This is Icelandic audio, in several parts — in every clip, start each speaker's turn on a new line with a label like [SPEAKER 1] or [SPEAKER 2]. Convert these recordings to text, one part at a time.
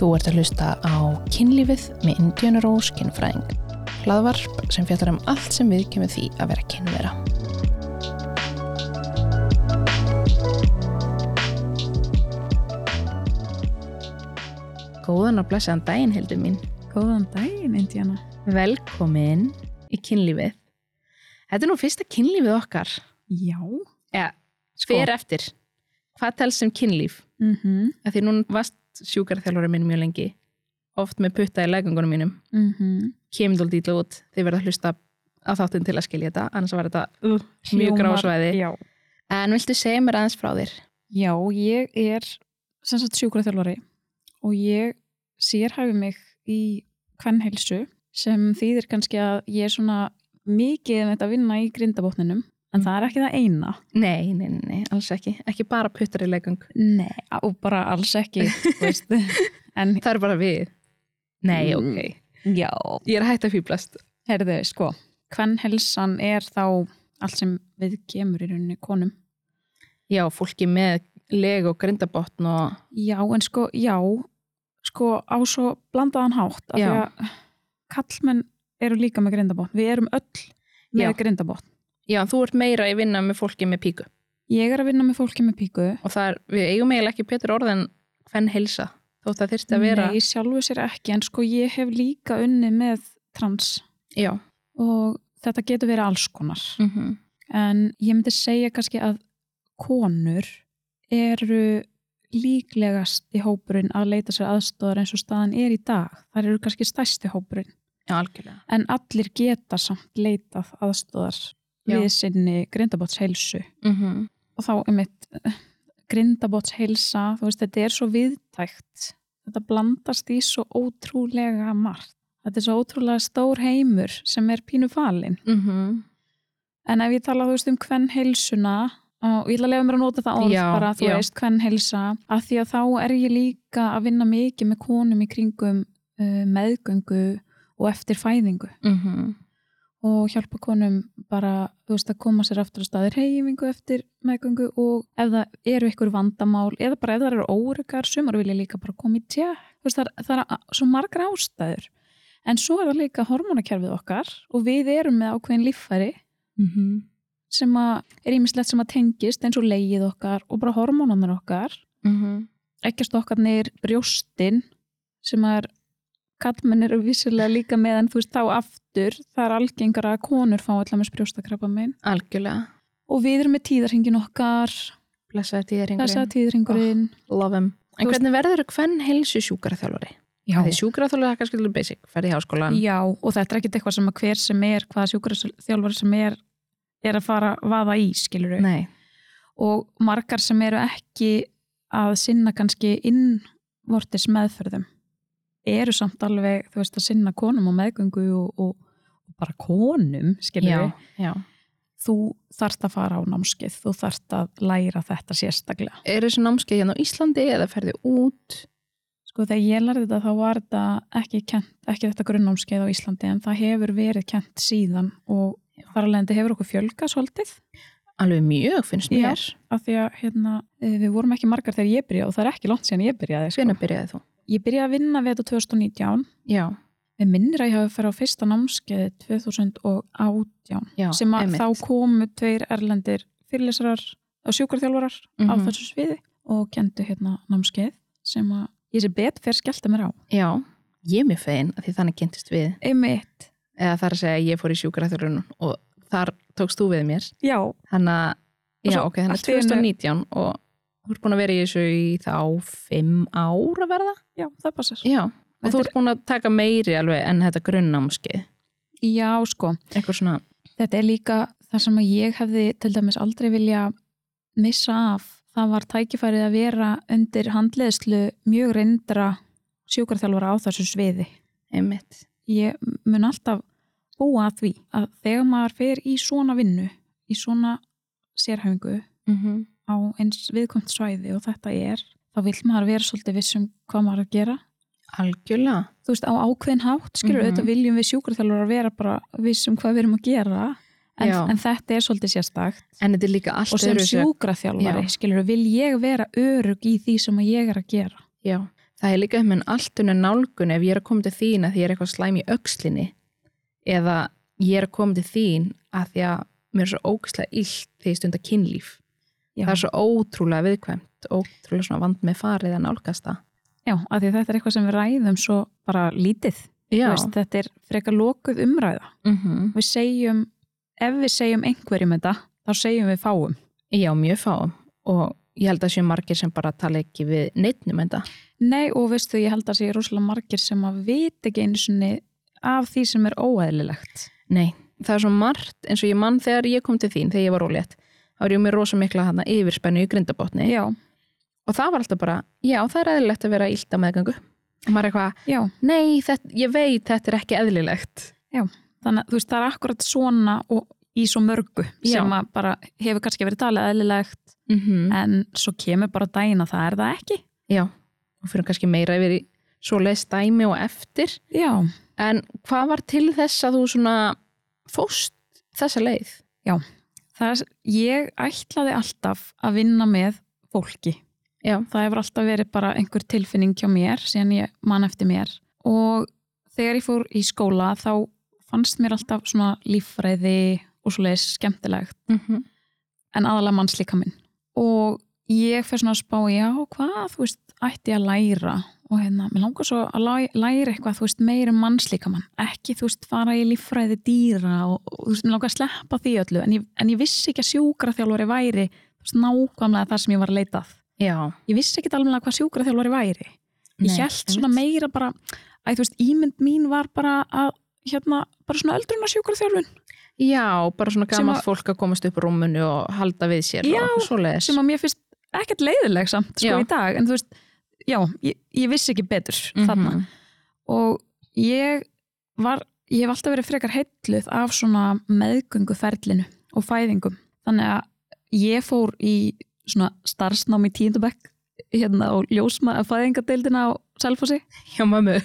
[SPEAKER 1] Þú ert að hlusta á kynlífið með Indiana Rose kynfræðing. Hlaðvarp sem fjallar um allt sem við kemur því að vera kynvera. Góðan og blessaðan daginn, heldur mín.
[SPEAKER 2] Góðan daginn, Indiana.
[SPEAKER 1] Velkomin í kynlífið. Þetta er nú fyrsta kynlífið okkar. Sko.
[SPEAKER 2] Já.
[SPEAKER 1] Já, fyrir eftir. Hvað telst sem kynlíf?
[SPEAKER 2] Mm -hmm.
[SPEAKER 1] að því núna vast sjúkarþjálfari minn mjög lengi oft með putta í legangunum mínum
[SPEAKER 2] Mm -hmm.
[SPEAKER 1] kemur dól dýtla út, þið verða að hlusta á þáttinn til að skilja þetta, annars var þetta uh, mjög grásvæði
[SPEAKER 2] Já.
[SPEAKER 1] en viltu segja mér aðeins frá þér
[SPEAKER 2] Já, ég er sem sagt sjúkraþjálfari og ég sérhæfi mig í kvennheilsu sem þýðir kannski að ég er svona mikið með þetta að vinna í grindabotninum en það er ekki það eina.
[SPEAKER 1] nei, nei, nei, nei, alls ekki, ekki bara puttar í legang
[SPEAKER 2] Nei. Og bara alls ekki, þú veist. En
[SPEAKER 1] það er bara við nei,
[SPEAKER 2] Mm.
[SPEAKER 1] ok,
[SPEAKER 2] já.
[SPEAKER 1] ég er hægt að fýblast
[SPEAKER 2] Herðu, sko, kvennhelsan er þá allt sem við kemur í rauninni konum.
[SPEAKER 1] já, fólki með leg og grindabotn og
[SPEAKER 2] Já, en sko, já, sko á svo blandaðan hátt af
[SPEAKER 1] Já.
[SPEAKER 2] því að kallmenn eru líka með grindabotn, við erum öll með
[SPEAKER 1] Já.
[SPEAKER 2] grindabotn.
[SPEAKER 1] já, þú ert meira í vinna með fólki með píku
[SPEAKER 2] Ég er að vinna með fólki með píku
[SPEAKER 1] og það er, við eigum eiginlega ekki betur orð en hvern heilsa, þótt það þyrst að vera
[SPEAKER 2] Nei, sjálfu sér ekki, en sko ég hef líka unni með trans
[SPEAKER 1] já,
[SPEAKER 2] og þetta getur verið alls konar
[SPEAKER 1] mm
[SPEAKER 2] en ég myndi segja kannski að konur eru líklegast í hópurinn að leita sér aðstóðar eins og staðan er í dag þar eru kannski stærsti hópurinn
[SPEAKER 1] já, algjörlega
[SPEAKER 2] en allir geta samt leitað aðstóðar
[SPEAKER 1] Já.
[SPEAKER 2] við sinni grindabótsheilsu
[SPEAKER 1] mm
[SPEAKER 2] og þá er mitt grindabótsheilsa, þú veist, þetta er svo viðtækt þetta blandast í svo ótrúlega margt þetta er svo ótrúlega stór heimur sem er pínu falinn
[SPEAKER 1] mhm,
[SPEAKER 2] en ef ég tala, þú veist, um hvern heilsuna og ég ætla að lefa mér að nota það orð
[SPEAKER 1] Já,
[SPEAKER 2] bara, þú
[SPEAKER 1] já.
[SPEAKER 2] veist, hvern heilsa af því að þá er ég líka að vinna mikið með konum í kringum uh, meðgöngu og eftir fæðingu
[SPEAKER 1] mhm,
[SPEAKER 2] og hjálpa konum bara þú veist, að koma sér aftur á staðir reyfingu eftir meðgöngu og ef það eru ykkur vandamál eða bara ef það eru óryggar sumar vilja líka bara koma í tjá veist, það, er- það er a- svo margar ástæður en svo er það líka hormónakerfið okkar og við erum með ákveðin líffæri
[SPEAKER 1] mhm,
[SPEAKER 2] sem að er ímislegt sem að tengist eins og leigið okkar og bara hormónanar okkar
[SPEAKER 1] mhm.
[SPEAKER 2] ekkert okkar neyr brjóstin sem að er kallmenn eru vissilega líka með en þú veist þá aftur það er algengara að konur fá allar með brjóstakrabba minn
[SPEAKER 1] Algjörlega
[SPEAKER 2] og við erum með tíðarhingin okkar
[SPEAKER 1] Blessaði tíðringurinn
[SPEAKER 2] þess að tíðarhingurinn
[SPEAKER 1] Love him En
[SPEAKER 2] Þú veist-
[SPEAKER 1] hvernig verður hvern heilsu sjúkraþjálfari?
[SPEAKER 2] já.
[SPEAKER 1] Því sjúkraþjálfari er kannski little basic Ferði í háskólan
[SPEAKER 2] já og þetta er ekkert eitthvað sem að hver sem er hvaða sjúkurþjálfari sem er er að fara að vaða í skilur
[SPEAKER 1] Nei
[SPEAKER 2] og margar sem eru ekki að sinna kannski innvortis meðferðum eru samt alveg, þú veist, að sinna konum og meðgöngu og, og, og bara konum, skilur
[SPEAKER 1] Já,
[SPEAKER 2] við
[SPEAKER 1] já
[SPEAKER 2] þú þarft að fara á námskeið þú þarft að læra þetta sérstaklega
[SPEAKER 1] Er þessi námskeið hérna á Íslandi eða ferði út?
[SPEAKER 2] sko þegar ég lærði þetta þá var þetta ekki, kent, ekki þetta grunnnámskeið á Íslandi en það hefur verið kent síðan og þar alveg þetta hefur okkur fjölga svolítið
[SPEAKER 1] Alveg mjög finnst
[SPEAKER 2] Já.
[SPEAKER 1] mér
[SPEAKER 2] af því að hérna, eh, við vorum ekki margar þegar ég byrjaði og það er ekki langt síðan ég byrjaði sko.
[SPEAKER 1] Hvenær byrjaði þú?
[SPEAKER 2] Ég byrjaði að vinna við þetta 2019.
[SPEAKER 1] Já,
[SPEAKER 2] Við minnir að ég hafi farið á fyrsta námskeið 2018
[SPEAKER 1] já
[SPEAKER 2] sem að
[SPEAKER 1] einmitt.
[SPEAKER 2] þá komu tveir erlendir fyrirlesarar og sjúkarþjálfarar á
[SPEAKER 1] Mhm.
[SPEAKER 2] þessu sviði og kendu hérna námskeið sem að ég sé bet fyrir skellta mér á.
[SPEAKER 1] Já, ég er mjög fegin að því þannig kynntist við
[SPEAKER 2] Einmitt.
[SPEAKER 1] eða þar að segja að ég fór í sjúkraþjálfarinn og þar tókst þú við mér
[SPEAKER 2] Já.
[SPEAKER 1] Þannig að, já
[SPEAKER 2] Og svo
[SPEAKER 1] ok, þannig að
[SPEAKER 2] allt í einu-
[SPEAKER 1] 2019 og þú ert búin að vera í þessu í þá fimm ár að verða?
[SPEAKER 2] Já, það passar.
[SPEAKER 1] Já. Og
[SPEAKER 2] Þetta
[SPEAKER 1] þú
[SPEAKER 2] er-
[SPEAKER 1] ert búin að taka meiri alveg en þetta grunnnámskið.
[SPEAKER 2] Já, sko.
[SPEAKER 1] Eitthvað svona,
[SPEAKER 2] Þetta er líka það sem að ég hefði til dæmis aldrei vilja missa af. Það var tækifærið að vera undir handleðslu mjög reyndra sjúkarþjálfara á þessu sviði.
[SPEAKER 1] einmitt.
[SPEAKER 2] ég mun alltaf búa að því að þegar maður fer í svona vinnu, í svona sérhæfingu
[SPEAKER 1] Mm -hmm.
[SPEAKER 2] á eins viðkomt svæði og þetta er, þá vill maður vera svolítið vissum hvað maður er að gera.
[SPEAKER 1] Algjörlega.
[SPEAKER 2] Þú veist, á ákveðin hátt, skilur
[SPEAKER 1] Mhm.
[SPEAKER 2] auðvitað viljum við sjúkurþjálfur að vera bara vissum hvað við erum að gera, en,
[SPEAKER 1] Já.
[SPEAKER 2] en þetta er svolítið sérstakt.
[SPEAKER 1] En þetta er líka allt
[SPEAKER 2] Og sem
[SPEAKER 1] öðruvísi-
[SPEAKER 2] sjúkraþjálfari,
[SPEAKER 1] Já.
[SPEAKER 2] skilur, vil ég vera örug í því sem að ég er að gera.
[SPEAKER 1] Já. það er líka um en allt unna nálgun ef ég er að koma til þín að því ég er eitthvað slæm í öxlinni eða ég er að koma til þín að því að mér er svo ógæslega illt því ég stunda kynlíf
[SPEAKER 2] Já.
[SPEAKER 1] það er svo ótrúlega viðkvæmt ótrúlega svona vand með farið að nálgast það
[SPEAKER 2] Já, af því þetta er eitthvað sem við ræðum svo bara lítið. Þú Veist, þetta er frekar lokuð umræða.
[SPEAKER 1] mm
[SPEAKER 2] Við segjum, ef við segjum einhverjum þetta, þá segjum við fáum.
[SPEAKER 1] já mjög fáum og ég held að séu margir sem bara tala ekki við um neittnum en það
[SPEAKER 2] Nei, og veistu, ég held að sé rosalega margir sem að vita ekki einu sinni af því sem er óæðilegt.
[SPEAKER 1] Nei, það er svo margt eins og ég mann þegar ég kom til þín, þegar ég var ólétt þá er ég með rosa mikla hana yfirspennu í grindabotni
[SPEAKER 2] Já,
[SPEAKER 1] og það var alltaf bara, já það er eðlilegt að vera ílda meðgangu og maður er eitthvað,
[SPEAKER 2] já.
[SPEAKER 1] nei þetta, ég veit þetta er ekki eðlilegt
[SPEAKER 2] Þannig að þú veist, það er akkurat svona og í svo mörgu
[SPEAKER 1] Já.
[SPEAKER 2] sem að bara hefur kannski verið talið eðlilegt
[SPEAKER 1] mm -hmm.
[SPEAKER 2] en svo kemur bara daginn að það er það ekki.
[SPEAKER 1] Já, og fyrir kannski meira yfir í svo leist dæmi og eftir
[SPEAKER 2] Já,
[SPEAKER 1] en hvað var til þess að þú svona fóst þessa leið?
[SPEAKER 2] það er, ég ætlaði alltaf að vinna með fólki.
[SPEAKER 1] Já,
[SPEAKER 2] Það hefur alltaf verið bara einhver tilfinning hjá mér síðan ég man eftir mér og þegar ég fór í skóla þá fannst mér alltaf svona líffræði og svoleiðis skemmtilegt
[SPEAKER 1] mm
[SPEAKER 2] en aðalega mannslíka minn og ég fer svona að spá já, hvað, þú veist, ætti ég að læra og hérna, mér langar svo að læ- læra eitthvað, þú veist, meira um mannslíka mann ekki, þú veist, fara í líffræði dýra og, og þú veist, mér langar að sleppa því öllu en ég, en ég vissi ekki að sjúkraþjálfari væri þú veist, nákvæmlega það sem ég var að leitað
[SPEAKER 1] já
[SPEAKER 2] ég vissi ekki alveg hvað sjúkraþjálfari væri ég held svona meira bara að þú veist, ímynd mín var bara að hérna, bara svona öldruna sjúkraþjálfun
[SPEAKER 1] Já, bara svona
[SPEAKER 2] Sem
[SPEAKER 1] gaman
[SPEAKER 2] að-
[SPEAKER 1] fólk að komast upp úr rúmunu og halda við sér
[SPEAKER 2] Já,
[SPEAKER 1] og svo leiðis.
[SPEAKER 2] sem að mér finnst ekkert leiðileg samt sko
[SPEAKER 1] Já.
[SPEAKER 2] í dag, en þú veist já, ég, ég vissi ekki betur
[SPEAKER 1] Mhm.
[SPEAKER 2] þarna og ég var, ég hef alltaf verið frekar heilluð af svona meðgönguferlinu og fæðingum, þannig að ég fór í svona starfsnám í tíndabæk hérna á ljósma fæðingadeildina á Selfossi,
[SPEAKER 1] Hjá mammu.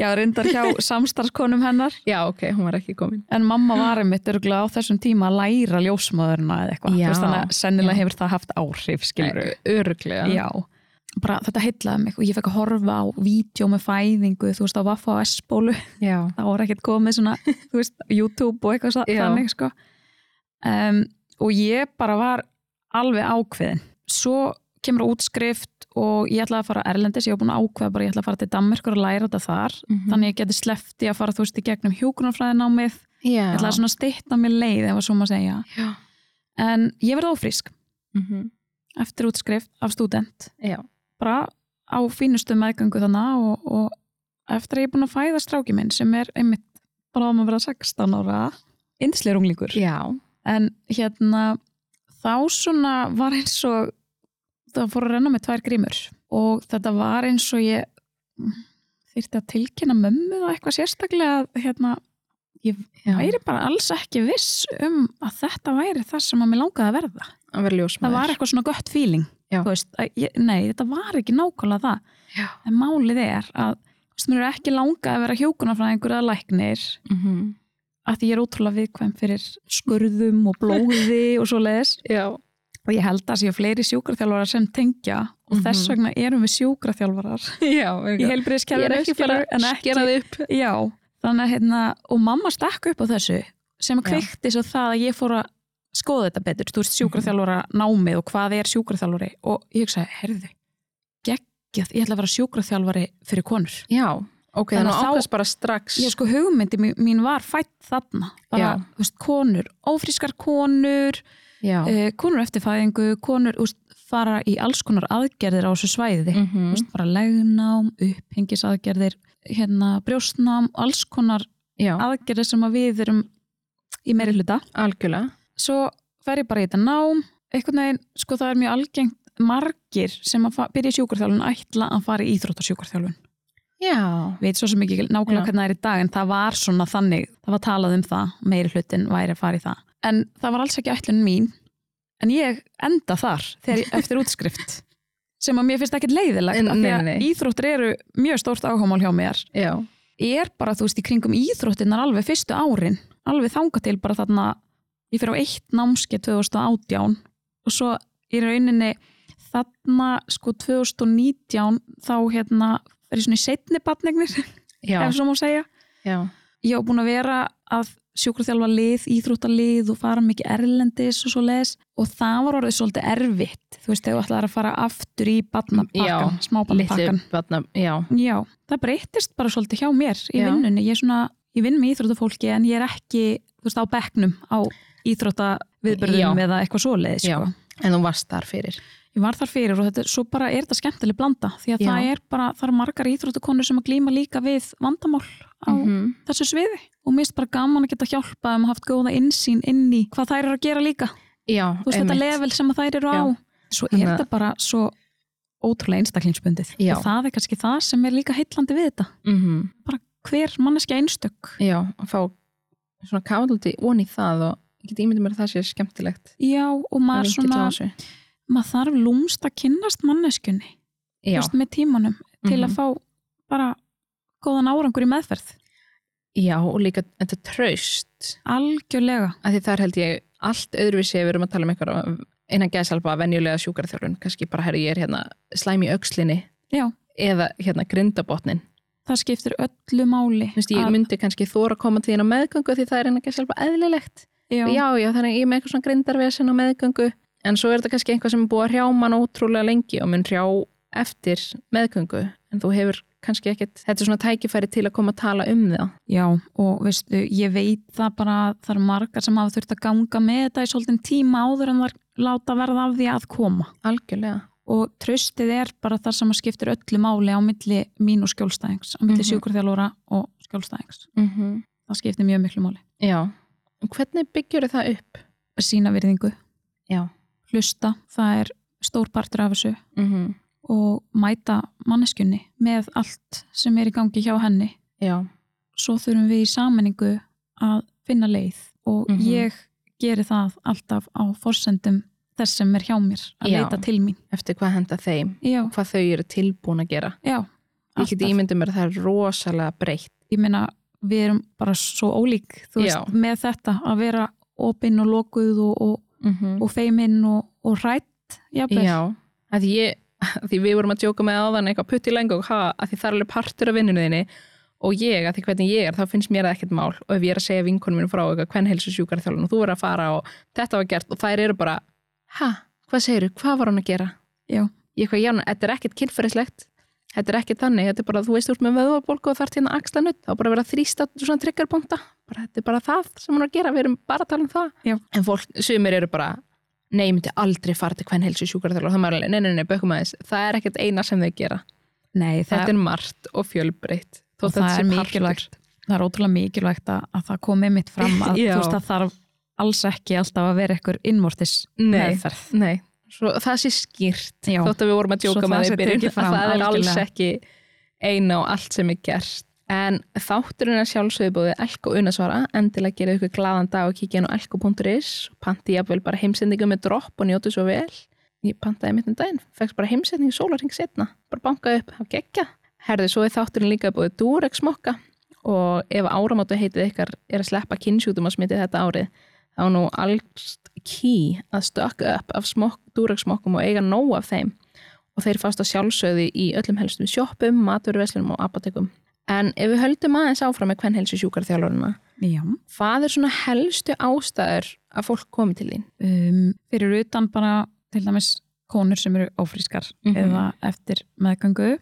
[SPEAKER 2] já reyndar hjá samstarfskonum hennar
[SPEAKER 1] Já, ok, hún var ekki komin.
[SPEAKER 2] En mamma var einmitt örgulega á þessum tíma að læra ljósmaðurina eða eitthvað.
[SPEAKER 1] Já.
[SPEAKER 2] Þú veist, Þannig að sennilega
[SPEAKER 1] Já.
[SPEAKER 2] hefur það haft áhrif, skilur við.
[SPEAKER 1] Öruglega.
[SPEAKER 2] Já. Bara þetta heitlaði mig og ég fekk að horfa á vídeo með fæðingu, þú veist, á Vaffa og S-bólu.
[SPEAKER 1] Já.
[SPEAKER 2] Það voru ekkert komið svona, þú veist, YouTube og eitthvað svo-
[SPEAKER 1] Já.
[SPEAKER 2] þannig, sko. Um, og ég bara var alveg ákveðin. Svo kemur útskrift og ég ætlaði að fara erlendis, ég var búin að ákveða bara, ég ætlaði að fara til Danmerkur og læra þetta þar.
[SPEAKER 1] Mhm.
[SPEAKER 2] Þannig að ég geti sleppt í að fara, þú veist, í gegnum hjúkunarfræðinámið
[SPEAKER 1] Já.
[SPEAKER 2] Ég ætlaði svona að stytta mér leið ef að svo maður segja.
[SPEAKER 1] Já.
[SPEAKER 2] En ég verði ófrísk
[SPEAKER 1] Mm -hmm.
[SPEAKER 2] eftir útskrift af stúdent.
[SPEAKER 1] Já.
[SPEAKER 2] Bara á fínustu meðgöngu þannig og, og eftir að ég er búin að fæða stráki minn sem er einmitt bara um að vera 16 ára. Indisleir unglingur.
[SPEAKER 1] Já.
[SPEAKER 2] En hérna þá svona var eins og það fór að renna með tvær grímur og þetta var eins og ég þyrfti að tilkynna mömmu og eitthvað sérstaklega að hérna
[SPEAKER 1] Já.
[SPEAKER 2] væri bara alls ekki viss um að þetta væri það sem að mér langaði að verða.
[SPEAKER 1] Að vera ljósmaður.
[SPEAKER 2] Það var eitthvað svona gött feeling.
[SPEAKER 1] Já.
[SPEAKER 2] þú Veist, að ég, nei, þetta var ekki nákvæmlega það.
[SPEAKER 1] Já.
[SPEAKER 2] En málið er að þú veist, mér er ekki langað að vera hjókunarfræðingur eða læknir
[SPEAKER 1] Mm -hmm.
[SPEAKER 2] að því ég er ótrúlega viðkvæm fyrir skurðum og blóði og svo leiðis.
[SPEAKER 1] Já.
[SPEAKER 2] Og ég held að séu fleiri sjúkraþjálfarar sem tengja og
[SPEAKER 1] Mhm.
[SPEAKER 2] þess vegna erum við sjúkraþjálfarar
[SPEAKER 1] Já.
[SPEAKER 2] í
[SPEAKER 1] Ég, ég er
[SPEAKER 2] heilbriðiskerfinu.
[SPEAKER 1] ekki fara að skera þið upp.
[SPEAKER 2] Já, þannig að hérna, og mamma stakk upp á þessu sem
[SPEAKER 1] Já.
[SPEAKER 2] kveikti svo það að ég fór að skoða þetta betur, þú veist sjúkraþjálfara
[SPEAKER 1] Mhm.
[SPEAKER 2] námið og hvað er sjúkraþjálfari og ég hugsaði, herðu, geggjað, ég ætla að vera sjúkraþjálfari fyrir konur.
[SPEAKER 1] Já. Ok,
[SPEAKER 2] Þannig
[SPEAKER 1] þannig
[SPEAKER 2] að
[SPEAKER 1] að
[SPEAKER 2] þá-
[SPEAKER 1] ákast bara strax.
[SPEAKER 2] Ég sko hugmyndi mín- mín var fætt þarna, bara,
[SPEAKER 1] Já.
[SPEAKER 2] þú veist, konur, ófrískar konur,
[SPEAKER 1] Já.
[SPEAKER 2] uh, konur eftir fæðingu, konur úst, fara í alls konar aðgerðir á þessu svæði
[SPEAKER 1] Mm -hmm.
[SPEAKER 2] mm. úst, bara legnám, upphengisaðgerðir hérna, brjóstnám, alls konar
[SPEAKER 1] Já.
[SPEAKER 2] aðgerðir sem að við erum í meiri hluta
[SPEAKER 1] Algjörlega.
[SPEAKER 2] svo fer ég bara í þetta nám einhvern veginn, sko það er mjög algengt margir sem að fa- byrja í sjúkurþjálfun ætla að fara í íþróttarsjúkurþjálfun
[SPEAKER 1] Já.
[SPEAKER 2] við veit svo sem ekki nákvæmlega
[SPEAKER 1] Já.
[SPEAKER 2] hvernig það er í dag en það var svona þannig, það var talað um það meiri hlutin væri að fara í það en það var alls ekki ætlun mín en ég enda þar þegar, ég- eftir útskrift sem að mér finnst ekkert leiðilegt
[SPEAKER 1] En-
[SPEAKER 2] af því
[SPEAKER 1] nei,
[SPEAKER 2] að
[SPEAKER 1] nei.
[SPEAKER 2] íþróttir eru mjög stórt áhómál hjá mér
[SPEAKER 1] Já.
[SPEAKER 2] er bara þú veist í kringum íþróttinnar alveg fyrstu árin alveg þanga til bara þarna ég fyrir á eitt námskeið 2018 og svo í rauninni þarna sko 2019 þá hérna er ég svona í setni batnegnir,
[SPEAKER 1] já,
[SPEAKER 2] ef svo má segja
[SPEAKER 1] já,
[SPEAKER 2] ég á búin að vera að sjúkurþjálfa lið, íþróttalið og fara mikið erlendis og svo les og það var orðið svolítið erfitt þú veist, þegar þú ætlaði að fara aftur í badnapakkan,
[SPEAKER 1] litlu
[SPEAKER 2] smábadnapakkan
[SPEAKER 1] batna, já,
[SPEAKER 2] Já, það breytist bara svolítið hjá mér í
[SPEAKER 1] Já.
[SPEAKER 2] vinnunni, ég er svona, ég vinn með íþróttafólki en ég er ekki, þú veist, á bekknum á íþróttaviðbörðum
[SPEAKER 1] Já.
[SPEAKER 2] eða eitthvað svoleiðis,
[SPEAKER 1] Já.
[SPEAKER 2] sko
[SPEAKER 1] en þú varst þar fyrir
[SPEAKER 2] ég var þar fyrir og þetta, svo bara er þetta skemmtileg blanda því að
[SPEAKER 1] Já.
[SPEAKER 2] það er bara, það eru margar íþróttakonur sem að glýma líka við vandamál á
[SPEAKER 1] -hmm.
[SPEAKER 2] þessu sviði og mér finnst bara gaman að geta hjálpa um að haft góða innsýn inn í hvað þær eru að gera líka þú
[SPEAKER 1] Já,
[SPEAKER 2] veist þetta
[SPEAKER 1] einmitt.
[SPEAKER 2] level sem að þær eru á
[SPEAKER 1] Já.
[SPEAKER 2] svo er
[SPEAKER 1] Þannig að-
[SPEAKER 2] þetta bara svo ótrúlega einstaklingsbundið
[SPEAKER 1] Já.
[SPEAKER 2] og það er kannski það sem er líka heillandi við þetta
[SPEAKER 1] Mhm.
[SPEAKER 2] bara hver manneskja einstök
[SPEAKER 1] Já, að fá svona káldi ón í það og ég get ímyndið mér að það sé skemmtilegt
[SPEAKER 2] já og
[SPEAKER 1] Það er
[SPEAKER 2] maður
[SPEAKER 1] lengi til
[SPEAKER 2] svona
[SPEAKER 1] á þessu.
[SPEAKER 2] maður þarf lúmst að kynnast manneskjunni þú
[SPEAKER 1] Já,
[SPEAKER 2] veist, með tímanum til
[SPEAKER 1] Mhm.
[SPEAKER 2] að fá bara góðan árangur í meðferð
[SPEAKER 1] já, og líka þetta tröst
[SPEAKER 2] Algjörlega.
[SPEAKER 1] að því þar held ég allt öðruvísi ef við erum að tala um eitthvað innan gæðsalpa venjulega sjúkarþjálfun, kannski bara herri ég er hérna slæm í aukslinni
[SPEAKER 2] Já,
[SPEAKER 1] eða hérna grindabotnin
[SPEAKER 2] það skiptir öllu máli.
[SPEAKER 1] Þú veist, ég
[SPEAKER 2] að-
[SPEAKER 1] myndi kannski þóra að koma til þín á meðgöngu því það er innan gæðsalpa eðlilegt
[SPEAKER 2] já,
[SPEAKER 1] já, já, þannig ég er með eitthvað svona grindarvesen á meðgöngu en svo er þetta kannski eitthvað sem er búið að hrjá mann ótrúlega lengi og mun hrjá eftir meðgöngu en þú hefur kannski ekkert, þetta er svona tækifæri til að koma að tala um það
[SPEAKER 2] já, og veistu, ég veit það bara að það eru margar sem hafa þurft að ganga með þetta í svolítinn tíma áður en þar láta verða af því að koma.
[SPEAKER 1] algjörlega,
[SPEAKER 2] Og tröstið er bara þar sem að skiptir öllu máli á milli mín og skjólstæðings, á milli mm
[SPEAKER 1] Mhm.
[SPEAKER 2] og skjólstæðings.
[SPEAKER 1] mm
[SPEAKER 2] Það skiptir mjög miklu máli.
[SPEAKER 1] já En hvernig byggjur það upp?
[SPEAKER 2] Sýna virðingu,
[SPEAKER 1] Já,
[SPEAKER 2] hlusta, það er stór partur af þessu
[SPEAKER 1] mm
[SPEAKER 2] og mæta manneskjunni með allt sem er í gangi hjá henni
[SPEAKER 1] já,
[SPEAKER 2] svo þurfum við í sammenningu að finna leið og
[SPEAKER 1] Mhm.
[SPEAKER 2] ég geri það alltaf á forsendum þess sem er hjá mér að
[SPEAKER 1] Já.
[SPEAKER 2] leita til mín.
[SPEAKER 1] eftir hvað henda þeim
[SPEAKER 2] Já,
[SPEAKER 1] og hvað þau eru tilbúin að gera
[SPEAKER 2] já.
[SPEAKER 1] ég geti
[SPEAKER 2] alltaf.
[SPEAKER 1] ímyndið mér að það er rosalega breytt
[SPEAKER 2] Ég meina, við erum bara svo ólík, þú veist,
[SPEAKER 1] Já.
[SPEAKER 2] með þetta að vera opinn og lokuð og, og,
[SPEAKER 1] mm -hmm.
[SPEAKER 2] og feiminn og, og rætt, jafnvel.
[SPEAKER 1] Já, að því ég að því við vorum að djóka með áðan eitthvað putt í lengu og ha, að því það er alveg partur af vinnunni þinni og ég, að því hvernig ég er, þá finnst mér það ekkert mál og ef ég er að segja vinkonum minn frá eitthvað hvern helsu sjúkarþjálun og þú er að fara og þetta var gert og þær eru bara ha, hvað segiru, hvað var hann að gera?
[SPEAKER 2] Já.
[SPEAKER 1] Ég eitthvað, já, en þetta er ekkert kynferðislegt þetta er ekkert þannig, þetta er bara, þú veist, þú ert með vöðvabólku og þarft hérna axla nutt, þá er bara verið að þrýsta svona triggerpunkta, bara þetta er bara það sem hann er að gera, við erum bara að tala um það
[SPEAKER 2] Já.
[SPEAKER 1] en fólk, sumir eru bara, nei, ég myndi aldrei fara til hvern helsu sjúkarþjálun og það er alveg, nei, nei, nei, bökum aðeins, það er ekkert eina sem þau gera,
[SPEAKER 2] Nei, það,
[SPEAKER 1] þetta er margt og fjölbreytt, þó
[SPEAKER 2] Og það
[SPEAKER 1] þetta sé
[SPEAKER 2] er
[SPEAKER 1] partur.
[SPEAKER 2] mikilvægt. það er ótrúlega mikilvægt að, að það komi mitt fram að
[SPEAKER 1] Já.
[SPEAKER 2] þú veist að þarf alls ekki alltaf að vera ykkur innmortis
[SPEAKER 1] Nei.
[SPEAKER 2] meðferð.
[SPEAKER 1] Nei, svo það sé skýrt
[SPEAKER 2] Já.
[SPEAKER 1] þótt að við vorum að
[SPEAKER 2] Svo
[SPEAKER 1] djóka
[SPEAKER 2] það
[SPEAKER 1] með
[SPEAKER 2] sé
[SPEAKER 1] því byrjun
[SPEAKER 2] tekið
[SPEAKER 1] að
[SPEAKER 2] fram,
[SPEAKER 1] það er alls
[SPEAKER 2] algjörlega.
[SPEAKER 1] ekki eina og allt sem er gert en þátturinn er sjálfsögðu búið Elko Unasvara, endilega gera ykkur glaðan dag og kíkja hann á elko.is panti ég vel bara heimsendingu með dropp og njótu svo vel ég pantaði mitt um daginn fekst bara heimsendingu sólarhing setna bara bankaði upp, það gekkja herði svo er þátturinn líka búið Durex mokka og ef áramótu heitið ykkar er að sleppa kynnsjútum að smitið þetta árið þá er nú alls ký að stökka upp af smokk, dúraksmokkum og eiga nóg af þeim og þeir fást að sjálfsögði í öllum helstum sjoppum, maturveslunum og apotekum. En ef við höldum aðeins áfram með hvern helsu sjúkarþjálfurina,
[SPEAKER 2] Já.
[SPEAKER 1] hvað er svona helstu ástæður að fólk komi til þín?
[SPEAKER 2] um, fyrir utan bara til dæmis konur sem eru ófrískar
[SPEAKER 1] Mhm.
[SPEAKER 2] eða eftir meðgangu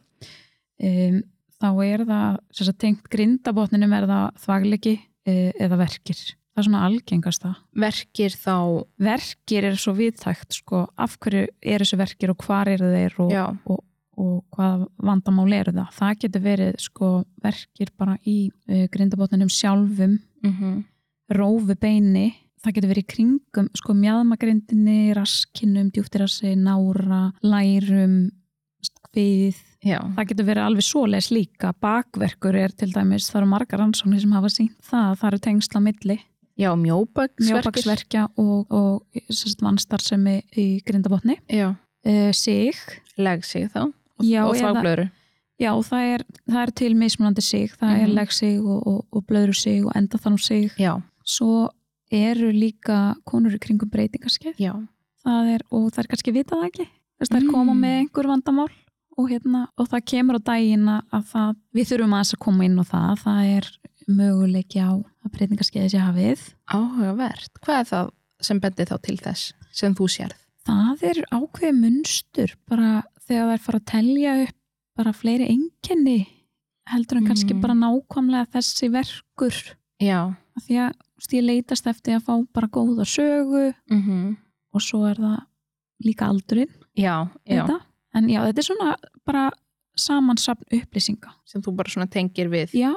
[SPEAKER 2] um, þá er það sem sagt, tengt grindabotninum er það þvaglegi uh, eða verkir það er svona algengast það
[SPEAKER 1] Verkir þá,
[SPEAKER 2] verkir er svo viðtækt sko, af hverju eru þessu verkir og hvar eru þeir og,
[SPEAKER 1] já,
[SPEAKER 2] og hvað vandamál eru það það getur verið sko, verkir bara í uh, grindabotninum sjálfum
[SPEAKER 1] mm
[SPEAKER 2] rófu beini það getur verið í kringum sko mjadmagrindinni, raskinum, djúptirassi nára, lærum við,
[SPEAKER 1] já,
[SPEAKER 2] það getur verið alveg svoleiðs líka, bakverkur er til dæmis, það eru margar rannsóknir sem hafa sínt það, það eru tengsla milli
[SPEAKER 1] já, mjóbagsverkir.
[SPEAKER 2] mjóbaksverkja og, og sérst, vannstarfsemi í grindabotni
[SPEAKER 1] Já,
[SPEAKER 2] uh, sig,
[SPEAKER 1] legsig þá og,
[SPEAKER 2] Já,
[SPEAKER 1] og
[SPEAKER 2] eða-
[SPEAKER 1] þáblöðru.
[SPEAKER 2] já það er, það er til mismunandi sig, það er
[SPEAKER 1] Mhm.
[SPEAKER 2] legg sig og, og, og blöðru sig og enda þannig sig
[SPEAKER 1] Já,
[SPEAKER 2] svo eru líka konur í kringum breytingarskeið
[SPEAKER 1] já,
[SPEAKER 2] það er, og það er kannski vitað það ekki Þess, þær koma
[SPEAKER 1] Mm.
[SPEAKER 2] með einhver vandamál og, hérna, og það kemur á daginn að- að það, við þurfum aðeins að koma inn á það. Það er möguleiki á að breytingarskeiði sé hafið.
[SPEAKER 1] Áhugavert. Hvað er það sem bendir þá til þess sem þú sérð?
[SPEAKER 2] Það er ákveðið munstur bara þegar þær fara að telja upp bara fleiri enginni heldur en kannski
[SPEAKER 1] Mm.
[SPEAKER 2] bara nákvæmlega þessi verkur.
[SPEAKER 1] Já.
[SPEAKER 2] Af Því að þú veist, ég leitast eftir að fá bara góða sögu
[SPEAKER 1] Mm
[SPEAKER 2] og svo er það líka aldurinn.
[SPEAKER 1] Já, já.
[SPEAKER 2] Þetta. En já, þetta er svona bara samansapn upplýsinga.
[SPEAKER 1] Sem þú bara svona tengir við
[SPEAKER 2] Já,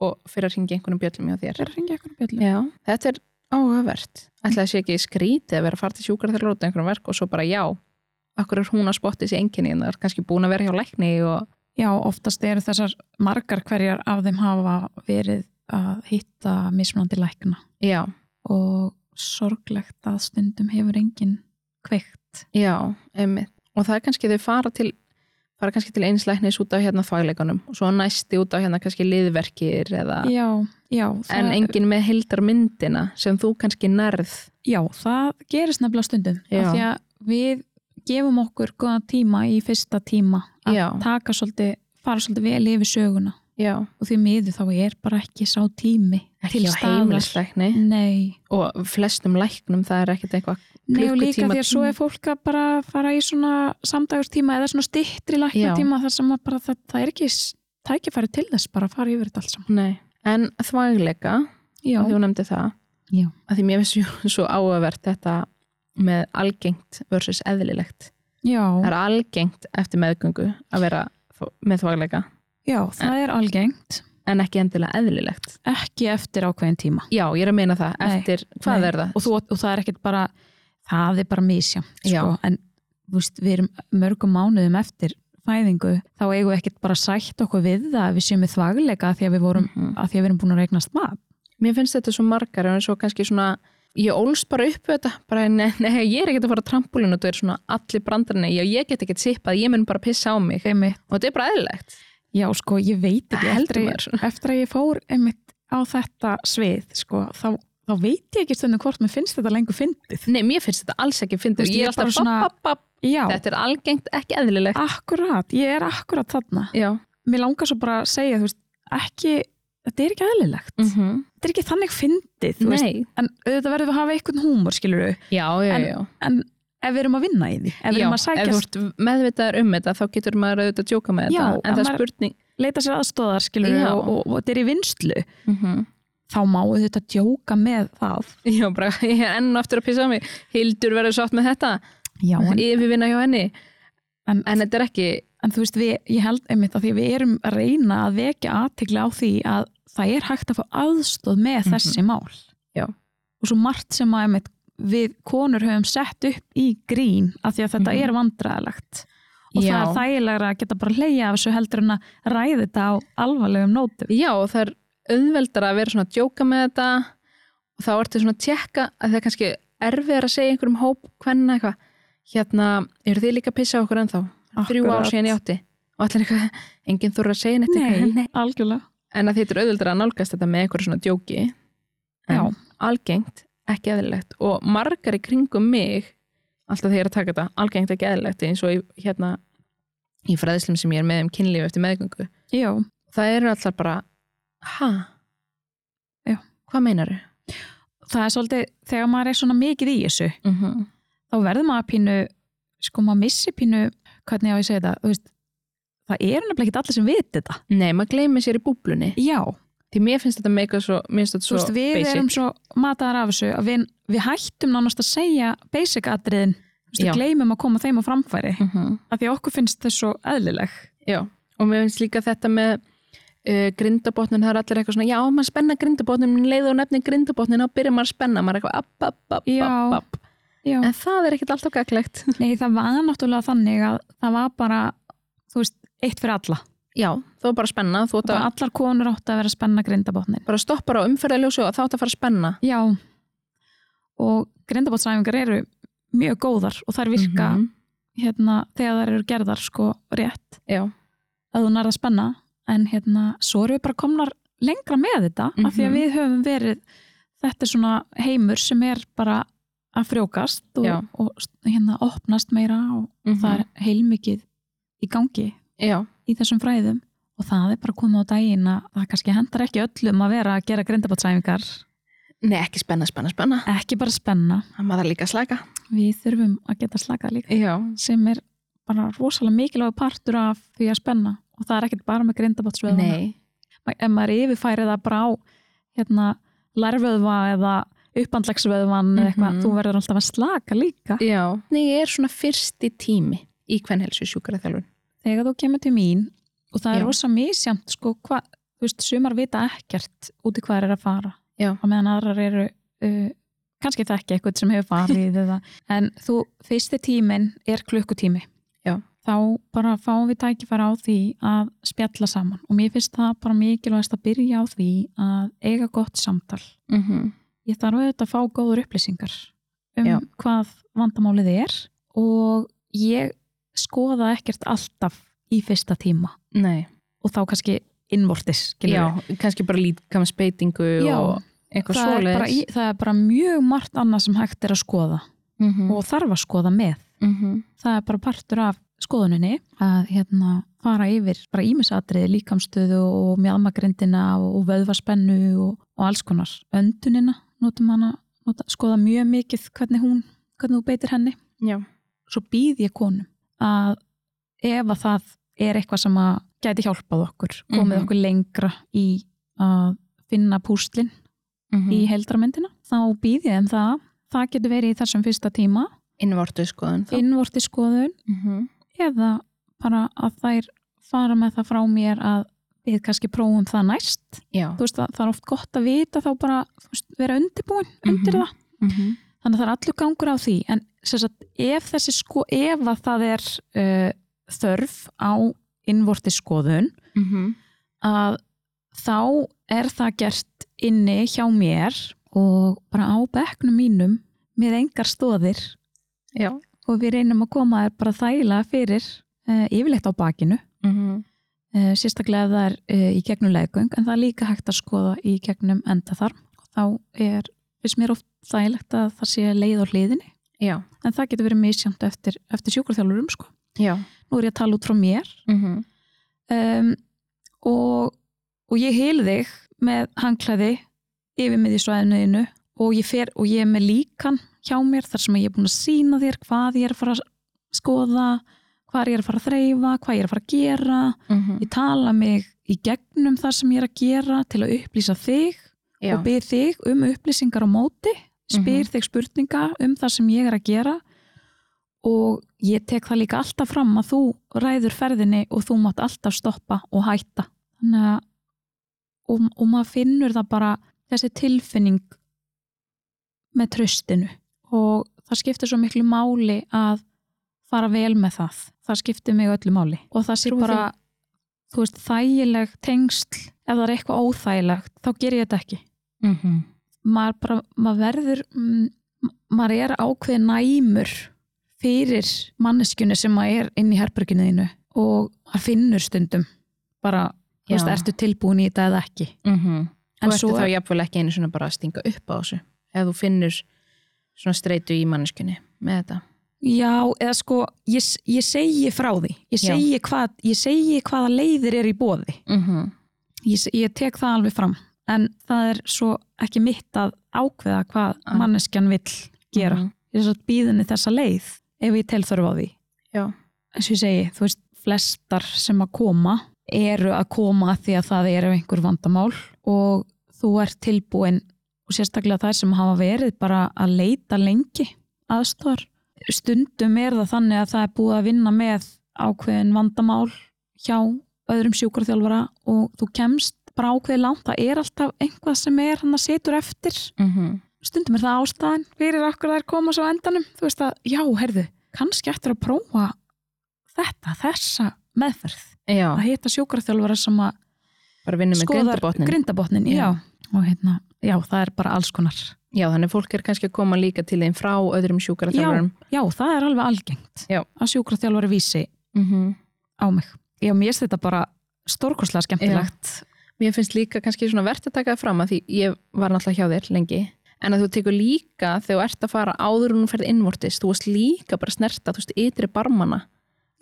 [SPEAKER 1] og fyrir að ringja einhvernum bjöllum hjá
[SPEAKER 2] það
[SPEAKER 1] þér.
[SPEAKER 2] er að ringja ykkur á bjöllu.
[SPEAKER 1] Já. Þetta er áhugavert. Ætla þessi ekki skrítið að vera að fara til sjúkar þegar lóta einhverjum verk og svo bara já. Akkur er hún að spotta þessi enginni en það er kannski búin að vera hjá lækni og...
[SPEAKER 2] Já, oftast eru þessar margar hverjar af þeim hafa verið að hitta mismunandi lækna
[SPEAKER 1] Já,
[SPEAKER 2] og sorglegt að stundum hefur enginn kveikt.
[SPEAKER 1] já, einmitt. Og það er kannski þau fara til fara kannski til einslæknis út af hérna fagleikunum og svo næsti út af hérna kannski liðverkir eða...
[SPEAKER 2] Já, já. Það,
[SPEAKER 1] en engin með heildarmyndina sem þú kannski nærð
[SPEAKER 2] Já, það gerist nefnilega stundum.
[SPEAKER 1] Já.
[SPEAKER 2] Af því að við gefum okkur góðan tíma í fyrsta tíma að
[SPEAKER 1] Já.
[SPEAKER 2] taka svolítið, fara svolítið vel yfir söguna
[SPEAKER 1] já,
[SPEAKER 2] og því miður þá er bara ekki sá tími
[SPEAKER 1] ekki hjá heimilisleikni
[SPEAKER 2] Nei.
[SPEAKER 1] og flestum læknum það er ekkert eitthvað
[SPEAKER 2] Nei og líka
[SPEAKER 1] Klukkutíma
[SPEAKER 2] því að svo
[SPEAKER 1] tími.
[SPEAKER 2] er fólk að bara fara í svona samdagurstíma eða svona stittri læknatíma þar sem að bara það, það er ekki s- tækifæri til þess bara að fara yfir þetta allt saman.
[SPEAKER 1] Nei. en þvægleika
[SPEAKER 2] Já,
[SPEAKER 1] að þú nefndi það
[SPEAKER 2] Já.
[SPEAKER 1] að því mér finnst svo- svo áhugavert þetta með algengt versus eðlilegt
[SPEAKER 2] já,
[SPEAKER 1] það er algengt eftir meðgöngu að vera þó- með þvægleika
[SPEAKER 2] já, það er algengt.
[SPEAKER 1] en ekki endilega eðlilegt
[SPEAKER 2] Ekki eftir ákveðin tíma.
[SPEAKER 1] já, ég er að meina það,
[SPEAKER 2] Nei.
[SPEAKER 1] eftir hvað
[SPEAKER 2] Nei.
[SPEAKER 1] er það?
[SPEAKER 2] Og, þú, og það er ekkit bara, það er bara misja.
[SPEAKER 1] Já.
[SPEAKER 2] Sko, en þú veist, við erum mörgum mánuðum eftir fæðingu, þá eigum við ekkit bara að sætt okkur við það að við séum við þvagleika að því að við, vorum,
[SPEAKER 1] Mhm.
[SPEAKER 2] að því að við erum búin að regnast mat.
[SPEAKER 1] Mér finnst þetta svo margar en svo kannski svona, ég ólst bara upp við þetta, bara nei, nei, ég er ekkert að fara á trampolín og þú er svona allir brandarinn já, ég get ekkert sippað, ég mun bara pissa á mig
[SPEAKER 2] Einmitt.
[SPEAKER 1] og þetta er bara eðlilegt
[SPEAKER 2] Já, sko, ég veit
[SPEAKER 1] Það
[SPEAKER 2] ekki
[SPEAKER 1] heldur
[SPEAKER 2] eftir,
[SPEAKER 1] maður.
[SPEAKER 2] að- eftir að ég fór einmitt á þetta svið, sko, þá, þá veit ég ekki stundum hvort mér finnst þetta lengur fyndið.
[SPEAKER 1] Nei, mér finnst þetta alls ekki
[SPEAKER 2] Þú
[SPEAKER 1] fyndið
[SPEAKER 2] veist,
[SPEAKER 1] ég
[SPEAKER 2] ég
[SPEAKER 1] er
[SPEAKER 2] er bara
[SPEAKER 1] alltaf
[SPEAKER 2] svona-
[SPEAKER 1] svona... bap,
[SPEAKER 2] Já,
[SPEAKER 1] bap, þetta er algengt ekki eðlilegt
[SPEAKER 2] akkurat, ég er akkurat þarna.
[SPEAKER 1] Já,
[SPEAKER 2] Mér langar svo bara að segja, þú veist, ekki, þetta er ekki aðlilegt.
[SPEAKER 1] mm -hmm.
[SPEAKER 2] Þetta er ekki þannig fyndið, Mhm. þú veist,
[SPEAKER 1] nei
[SPEAKER 2] en auðvitað verðum við að hafa einhvern húmor, skilur við,
[SPEAKER 1] Já, já,
[SPEAKER 2] En-
[SPEAKER 1] já,
[SPEAKER 2] en ef við erum að vinna í því, ef við
[SPEAKER 1] já
[SPEAKER 2] erum að
[SPEAKER 1] ef þú
[SPEAKER 2] sækjast,
[SPEAKER 1] ert meðvitaður um þetta þá getur maður auðvitað að djóka með
[SPEAKER 2] Já,
[SPEAKER 1] þetta en
[SPEAKER 2] en
[SPEAKER 1] það er
[SPEAKER 2] maður-
[SPEAKER 1] spurning
[SPEAKER 2] leita sér aðstóðar, skilur við,
[SPEAKER 1] Já.
[SPEAKER 2] og, og, og þetta er í vinslu,
[SPEAKER 1] mm
[SPEAKER 2] Mhm.
[SPEAKER 1] -hmm.
[SPEAKER 2] þá má auðvitað djóka með það.
[SPEAKER 1] Já, bara, ég er enn og aftur að pissa á mig Hildur verður sátt með þetta
[SPEAKER 2] Já, en,
[SPEAKER 1] yfirvinna hjá henni
[SPEAKER 2] en
[SPEAKER 1] en þetta er ekki
[SPEAKER 2] En þú veist, við, ég held einmitt að því við erum að reyna að vekja aðtegla á því að það er hægt að fá aðstóð með
[SPEAKER 1] Mhm.
[SPEAKER 2] þessi mál.
[SPEAKER 1] Já.
[SPEAKER 2] Og svo margt sem að einmitt við konur höfum sett upp í grín af því að þetta
[SPEAKER 1] Mhm.
[SPEAKER 2] er vandræðalegt. Og
[SPEAKER 1] Já.
[SPEAKER 2] það er þægilegra að geta bara hleyja af þessu heldur en að ræði þetta á alvarlegum nótum.
[SPEAKER 1] Já, og það er auðveldara að vera svona að djóka með þetta og þá ertu svona að tjekka að það er kannski erfiðar að segja einhverjum hóp hvenna eitthvað, hérna, eru þið líka að pissa á okkur ennþá? Þrjú ár
[SPEAKER 2] Akkurat.
[SPEAKER 1] síðan ég átti og allir eitthvað, enginn þurfa að segja neitt eitthvað,
[SPEAKER 2] Nei, algjörlega.
[SPEAKER 1] en að þetta er auðveldara að nálgast þetta með einhverjum svona djóki
[SPEAKER 2] Já,
[SPEAKER 1] en algengt, ekki eðlilegt og margar í kringum mig alltaf þegar ég er að taka þetta, algengt ekki eðlilegt eins og í, hérna í fræðislum sem ég er með um kynlíf eftir meðgöngu
[SPEAKER 2] já.
[SPEAKER 1] það eru allar bara ha?
[SPEAKER 2] Já.
[SPEAKER 1] Hvað meinaru?
[SPEAKER 2] Það er svolítið, þegar maður er svona mikið í þessu,
[SPEAKER 1] Mm -hmm.
[SPEAKER 2] þá verður maður pínu sko maður missi pínu hvernig á ég að segja þetta þú veist, það eru nefnilega ekki allir sem viti þetta
[SPEAKER 1] Nei, maður gleymir sér í búblunni
[SPEAKER 2] já,
[SPEAKER 1] því mér finnst þetta með eitthvað svo, mér finnst þetta
[SPEAKER 2] þú
[SPEAKER 1] svo
[SPEAKER 2] veist við
[SPEAKER 1] basic
[SPEAKER 2] erum svo mataðar af þessu að við, við hættum nánast að segja basic atriðin þú veist,
[SPEAKER 1] Já.
[SPEAKER 2] við gleymum að koma þeim á framfæri
[SPEAKER 1] mm -hmm.
[SPEAKER 2] af því að okkur finnst þess svo eðlileg
[SPEAKER 1] Já, og mér finnst líka þetta með uh, grindabotnin, það er allir eitthvað svona já, maður spenna grindabotnin, minn leið og nefni grindabotnin, þá byrjar maður að spenna, maður er eitthvað app, app, app,
[SPEAKER 2] Já.
[SPEAKER 1] app, app
[SPEAKER 2] já.
[SPEAKER 1] en það er ekkit alltaf gaglegt
[SPEAKER 2] Nei, það var náttúrulega þannig að það var bara þú veist, eitt fyrir alla
[SPEAKER 1] Já, þú er bara að spenna, þú
[SPEAKER 2] og
[SPEAKER 1] ert
[SPEAKER 2] bara
[SPEAKER 1] að
[SPEAKER 2] allar konur áttu að vera að spenna grindabotnin
[SPEAKER 1] bara stoppar á umferðaljósu og þá ert að fara að spenna
[SPEAKER 2] já og grindabotnsæfingar eru mjög góðar og þær virka
[SPEAKER 1] Mhm.
[SPEAKER 2] hérna, þegar þær eru gerðar sko rétt
[SPEAKER 1] Já,
[SPEAKER 2] að þú nærða spenna en hérna, svo erum við bara komnar lengra með þetta af því að
[SPEAKER 1] Mhm.
[SPEAKER 2] við höfum verið þetta er svona heimur sem er bara að frjókast
[SPEAKER 1] Já. Mhm.
[SPEAKER 2] og, og s- hérna opnast meira og það er heilmikið í gangi
[SPEAKER 1] Já,
[SPEAKER 2] í þessum fræðum og það er bara komið á daginn að það kannski hendar ekki öllum að vera að gera grindabátsæfingar
[SPEAKER 1] nei ekki spenna, spenna, spenna
[SPEAKER 2] ekki bara spenna,
[SPEAKER 1] Það maður líka að slæka
[SPEAKER 2] við þurfum að geta slakað líka
[SPEAKER 1] Já,
[SPEAKER 2] sem er bara rosalega mikilvæg partur af því að spenna og það er ekkert bara með grindabátsvöðuna
[SPEAKER 1] nei
[SPEAKER 2] ef maður yfirfæri það bara á hérna, lærvöðva eða uppandlagsvöðvan eða eitthvað,
[SPEAKER 1] Mhm.
[SPEAKER 2] þú verður alltaf að slaka líka
[SPEAKER 1] Já, nei, ég er svona fyrsti tími í kvennhelsu sjúkraþjálfun
[SPEAKER 2] þegar þú kemur til mín og það er
[SPEAKER 1] Já.
[SPEAKER 2] rosa misjant sko, hva, þú veist, sumar vita ekkert út í hvað er að fara
[SPEAKER 1] Já.
[SPEAKER 2] og meðan aðrar eru uh, kannski það ekki eitthvað sem hefur farið eða, en þú, fyrsti tímin er klukkutími
[SPEAKER 1] Já.
[SPEAKER 2] þá bara fáum við tækifæra á því að spjalla saman og mér finnst það bara mikilvægast að byrja á því að eiga gott samtal
[SPEAKER 1] mm
[SPEAKER 2] Mhm.
[SPEAKER 1] -hmm.
[SPEAKER 2] ég þarf auðvitað að fá góður upplýsingar um
[SPEAKER 1] Já.
[SPEAKER 2] hvað vandamálið er og ég skoða ekkert alltaf í fyrsta tíma
[SPEAKER 1] Nei,
[SPEAKER 2] og þá kannski innvortis skilurðu.
[SPEAKER 1] já, kannski bara líkamsbeitingu
[SPEAKER 2] Já,
[SPEAKER 1] og eitthvað
[SPEAKER 2] það, er bara, í-
[SPEAKER 1] svoleiðis
[SPEAKER 2] það er bara mjög margt annað sem hægt er að skoða
[SPEAKER 1] mm -hmm.
[SPEAKER 2] og þarf að skoða með
[SPEAKER 1] mm -hmm.
[SPEAKER 2] það er bara partur af skoðuninni að hérna fara yfir bara ímisatriði, líkamstöðu og mjálmagrindina og vöðvarspennu og, og alls konar öndunina, notum hana nota, skoða mjög mikið hvernig hún hvernig þú beitir henni,
[SPEAKER 1] Já,
[SPEAKER 2] svo býð ég konum að ef að það er eitthvað sem að gæti hjálpað okkur, komið
[SPEAKER 1] Mhm.
[SPEAKER 2] okkur lengra í að finna pústlin
[SPEAKER 1] mm -hmm.
[SPEAKER 2] í heldramyndina, þá býð ég þeim það það getur verið í þessum fyrsta tíma
[SPEAKER 1] innvortu skoðun þá
[SPEAKER 2] innvorti skoðun
[SPEAKER 1] mm -hmm.
[SPEAKER 2] eða bara að þær fara með það frá mér að við kannski prófum það næst
[SPEAKER 1] Já,
[SPEAKER 2] þú veist, það, það er oft gott að vita þá bara þú veist, vera undirbúin undir
[SPEAKER 1] Mhm.
[SPEAKER 2] það þannig að það er allur gangur á því en sem sagt, ef þessi sko ef að það er uh, þörf á innvorti skoðun
[SPEAKER 1] Mm -hmm.
[SPEAKER 2] að þá er það gert inni hjá mér og bara á bekknum mínum með engar stóðir
[SPEAKER 1] já
[SPEAKER 2] og við reynum að koma þér bara þægilega fyrir uh, yfirleitt á bakinu
[SPEAKER 1] mm -hmm.
[SPEAKER 2] uh, sérstaklega ef það er uh, í gegnum leggöng en það er líka hægt að skoða í gegnum endaþarm þá er, finnst mér oft þægilegt að það sé leið á hliðinni
[SPEAKER 1] Já,
[SPEAKER 2] en það getur verið misjönd eftir, eftir sjúkurþjálfurum sko.
[SPEAKER 1] já
[SPEAKER 2] nú er ég að tala út frá mér
[SPEAKER 1] mm -hmm.
[SPEAKER 2] um, og, og ég heil þig með hangklæði yfir með í svæðinuðinu og ég fer og ég er með líkan hjá mér þar sem ég er búin að sína þér hvað ég er að fara að skoða hvað ég er að fara að þreyfa, hvað ég er að fara að gera
[SPEAKER 1] Mhm.
[SPEAKER 2] ég tala mig í gegnum það sem ég er að gera til að upplýsa þig
[SPEAKER 1] Já,
[SPEAKER 2] og byr þig um upplýsingar á móti spyr
[SPEAKER 1] Mhm.
[SPEAKER 2] þig spurninga um það sem ég er að gera og ég tek það líka alltaf fram að þú ræður ferðinni og þú mátt alltaf stoppa og hætta þannig að og, og maður finnur það bara þessi tilfinning með tröstinu og það skiptir svo miklu máli að fara vel með það það skiptir mig öllu máli og það sé
[SPEAKER 1] Trúi
[SPEAKER 2] bara þú veist, þægileg tengsl ef það er eitthvað óþægilegt þá ger ég þetta ekki
[SPEAKER 1] mm -hmm.
[SPEAKER 2] maður bara, maður verður mm, maður er ákveðin næmur fyrir manneskjunni sem maður er inn í herberginu þínu og maður finnur stundum bara, þú veist,
[SPEAKER 1] Já.
[SPEAKER 2] ertu tilbúin í þetta eða ekki
[SPEAKER 1] Mm -hmm.
[SPEAKER 2] en
[SPEAKER 1] Og ertu
[SPEAKER 2] svo,
[SPEAKER 1] þá jafnvel ekki einu svona bara að stinga upp á þessu ef þú finnur svona streitu í manneskunni með þetta
[SPEAKER 2] já, eða sko ég, s- ég segi frá því ég
[SPEAKER 1] Já.
[SPEAKER 2] segi, hvað, ég segi hvaða leiðir er í bóði
[SPEAKER 1] mm -hmm.
[SPEAKER 2] Mhm. ég, s- ég tek það alveg fram en það er svo ekki mitt að ákveða hvað
[SPEAKER 1] Ah.
[SPEAKER 2] manneskjan vill gera
[SPEAKER 1] Mhm.
[SPEAKER 2] ég svo býðinni þessa leið ef ég tel þörf á því
[SPEAKER 1] Já.
[SPEAKER 2] eins og ég segi, þú veist, flestar sem að koma eru að koma af því að það eru einhver vandamál og þú ert tilbúin og sérstaklega þær sem hafa verið bara að leita lengi aðstofar stundum er það þannig að það er búið að vinna með ákveðin vandamál hjá öðrum sjúkurþjálfara og þú kemst bara ákveðið langt, það er alltaf einhvað sem er hann að setur eftir
[SPEAKER 1] Mm -hmm.
[SPEAKER 2] stundum er það ástæðan fyrir okkur þær koma svo á endanum þú veist að, já, herðu, kannski eftir að prófa þetta, þessa meðferð,
[SPEAKER 1] Já,
[SPEAKER 2] að hitta sjúkraþjálfara sem að
[SPEAKER 1] bara vinnum með
[SPEAKER 2] skoðar
[SPEAKER 1] grindabotnin
[SPEAKER 2] grindabotnin, já. og hérna, já, það er bara alls konar
[SPEAKER 1] Já, þannig að fólk er kannski að koma líka til þeim frá öðrum sjúkraþjálfurum
[SPEAKER 2] já, það er alveg algengt
[SPEAKER 1] Já.
[SPEAKER 2] að sjúkraþjálfari vísi
[SPEAKER 1] mm -hmm.
[SPEAKER 2] á mig já, mér finnst þetta bara stórkoslega skemmtilegt
[SPEAKER 1] Mér finnst líka kannski svona verðt að taka það fram að því ég var náttúrulega hjá þér lengi en að þú tekur líka þegar þú ert að fara áður en þú ferð innvortis þú varst líka bara að snerta, þú veist, ytri barmana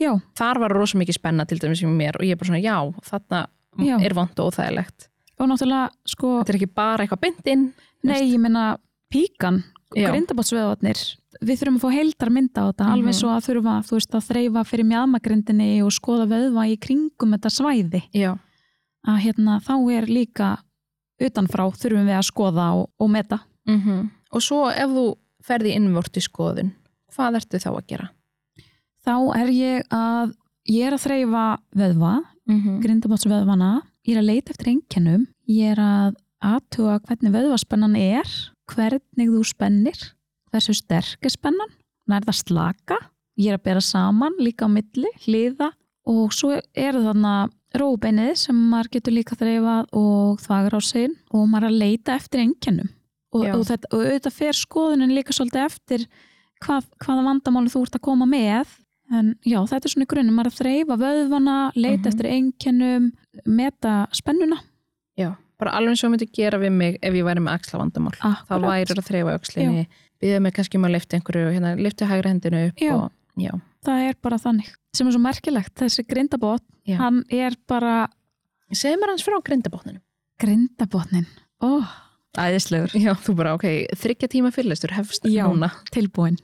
[SPEAKER 2] já,
[SPEAKER 1] þar var rosa mikið spenna til dæmis í mér og ég er bara svona, já, þarna
[SPEAKER 2] Já.
[SPEAKER 1] er vond og óþægilegt
[SPEAKER 2] og náttúrulega sko,
[SPEAKER 1] þetta er ekki bara eitthvað bindinn
[SPEAKER 2] nei, ég meina píkan,
[SPEAKER 1] Já.
[SPEAKER 2] grindabátsveðvarnir við þurfum að fá heildar mynda á þetta
[SPEAKER 1] Mhm.
[SPEAKER 2] alveg svo að þurfa, þú veist, að þreyfa fyrir mjadmagrindinni og skoða vöðva í kringum þetta svæði,
[SPEAKER 1] já,
[SPEAKER 2] að hérna þá er líka utanfrá þurfum við að skoða og, og meta
[SPEAKER 1] mm og svo ef þú ferð í innvortis skoðun hvað ertu þá að gera?
[SPEAKER 2] þá er ég að ég er að þreyfa vöðva,
[SPEAKER 1] Mm.
[SPEAKER 2] Mhm. grindabátsvöðvana ég er að leita eftir einkennum ég er að aðtuga hvernig vöðvaspennan er hvernig þú spennir hversu sterk er spennan nær það slaka, ég er að bera saman líka á milli, hliða og svo er þarna róbeinið sem maður getur líka þreifað og þvagrásinn og maður er að leita eftir einkennum og,
[SPEAKER 1] Já.
[SPEAKER 2] og, þetta, og auðvitað fer skoðunin líka svolítið eftir hvað, hvaða vandamáli þú ert að koma með en já, þetta er svona í grunnum maður er að þreifa vöðvana,
[SPEAKER 1] Mhm.
[SPEAKER 2] leita eftir einkennum meta spennuna
[SPEAKER 1] já, bara alveg eins og þú myndir gera við mig ef ég væri með axla vandamál þá
[SPEAKER 2] Akkurat.
[SPEAKER 1] væri að þreifa öxlinni byggja mig kannski um að lifta einhverju hérna, lifta hægra hendinu upp
[SPEAKER 2] Já.
[SPEAKER 1] og já,
[SPEAKER 2] það er bara þannig sem er svo merkilegt, þessi grindabot
[SPEAKER 1] Já.
[SPEAKER 2] hann er bara
[SPEAKER 1] segðu mér hans frá grindabotninu
[SPEAKER 2] grindabotnin ó, æðislegur
[SPEAKER 1] já, þú bara, ok, þryggja tíma fyrirlestur hefst
[SPEAKER 2] Já.
[SPEAKER 1] núna
[SPEAKER 2] tilbúin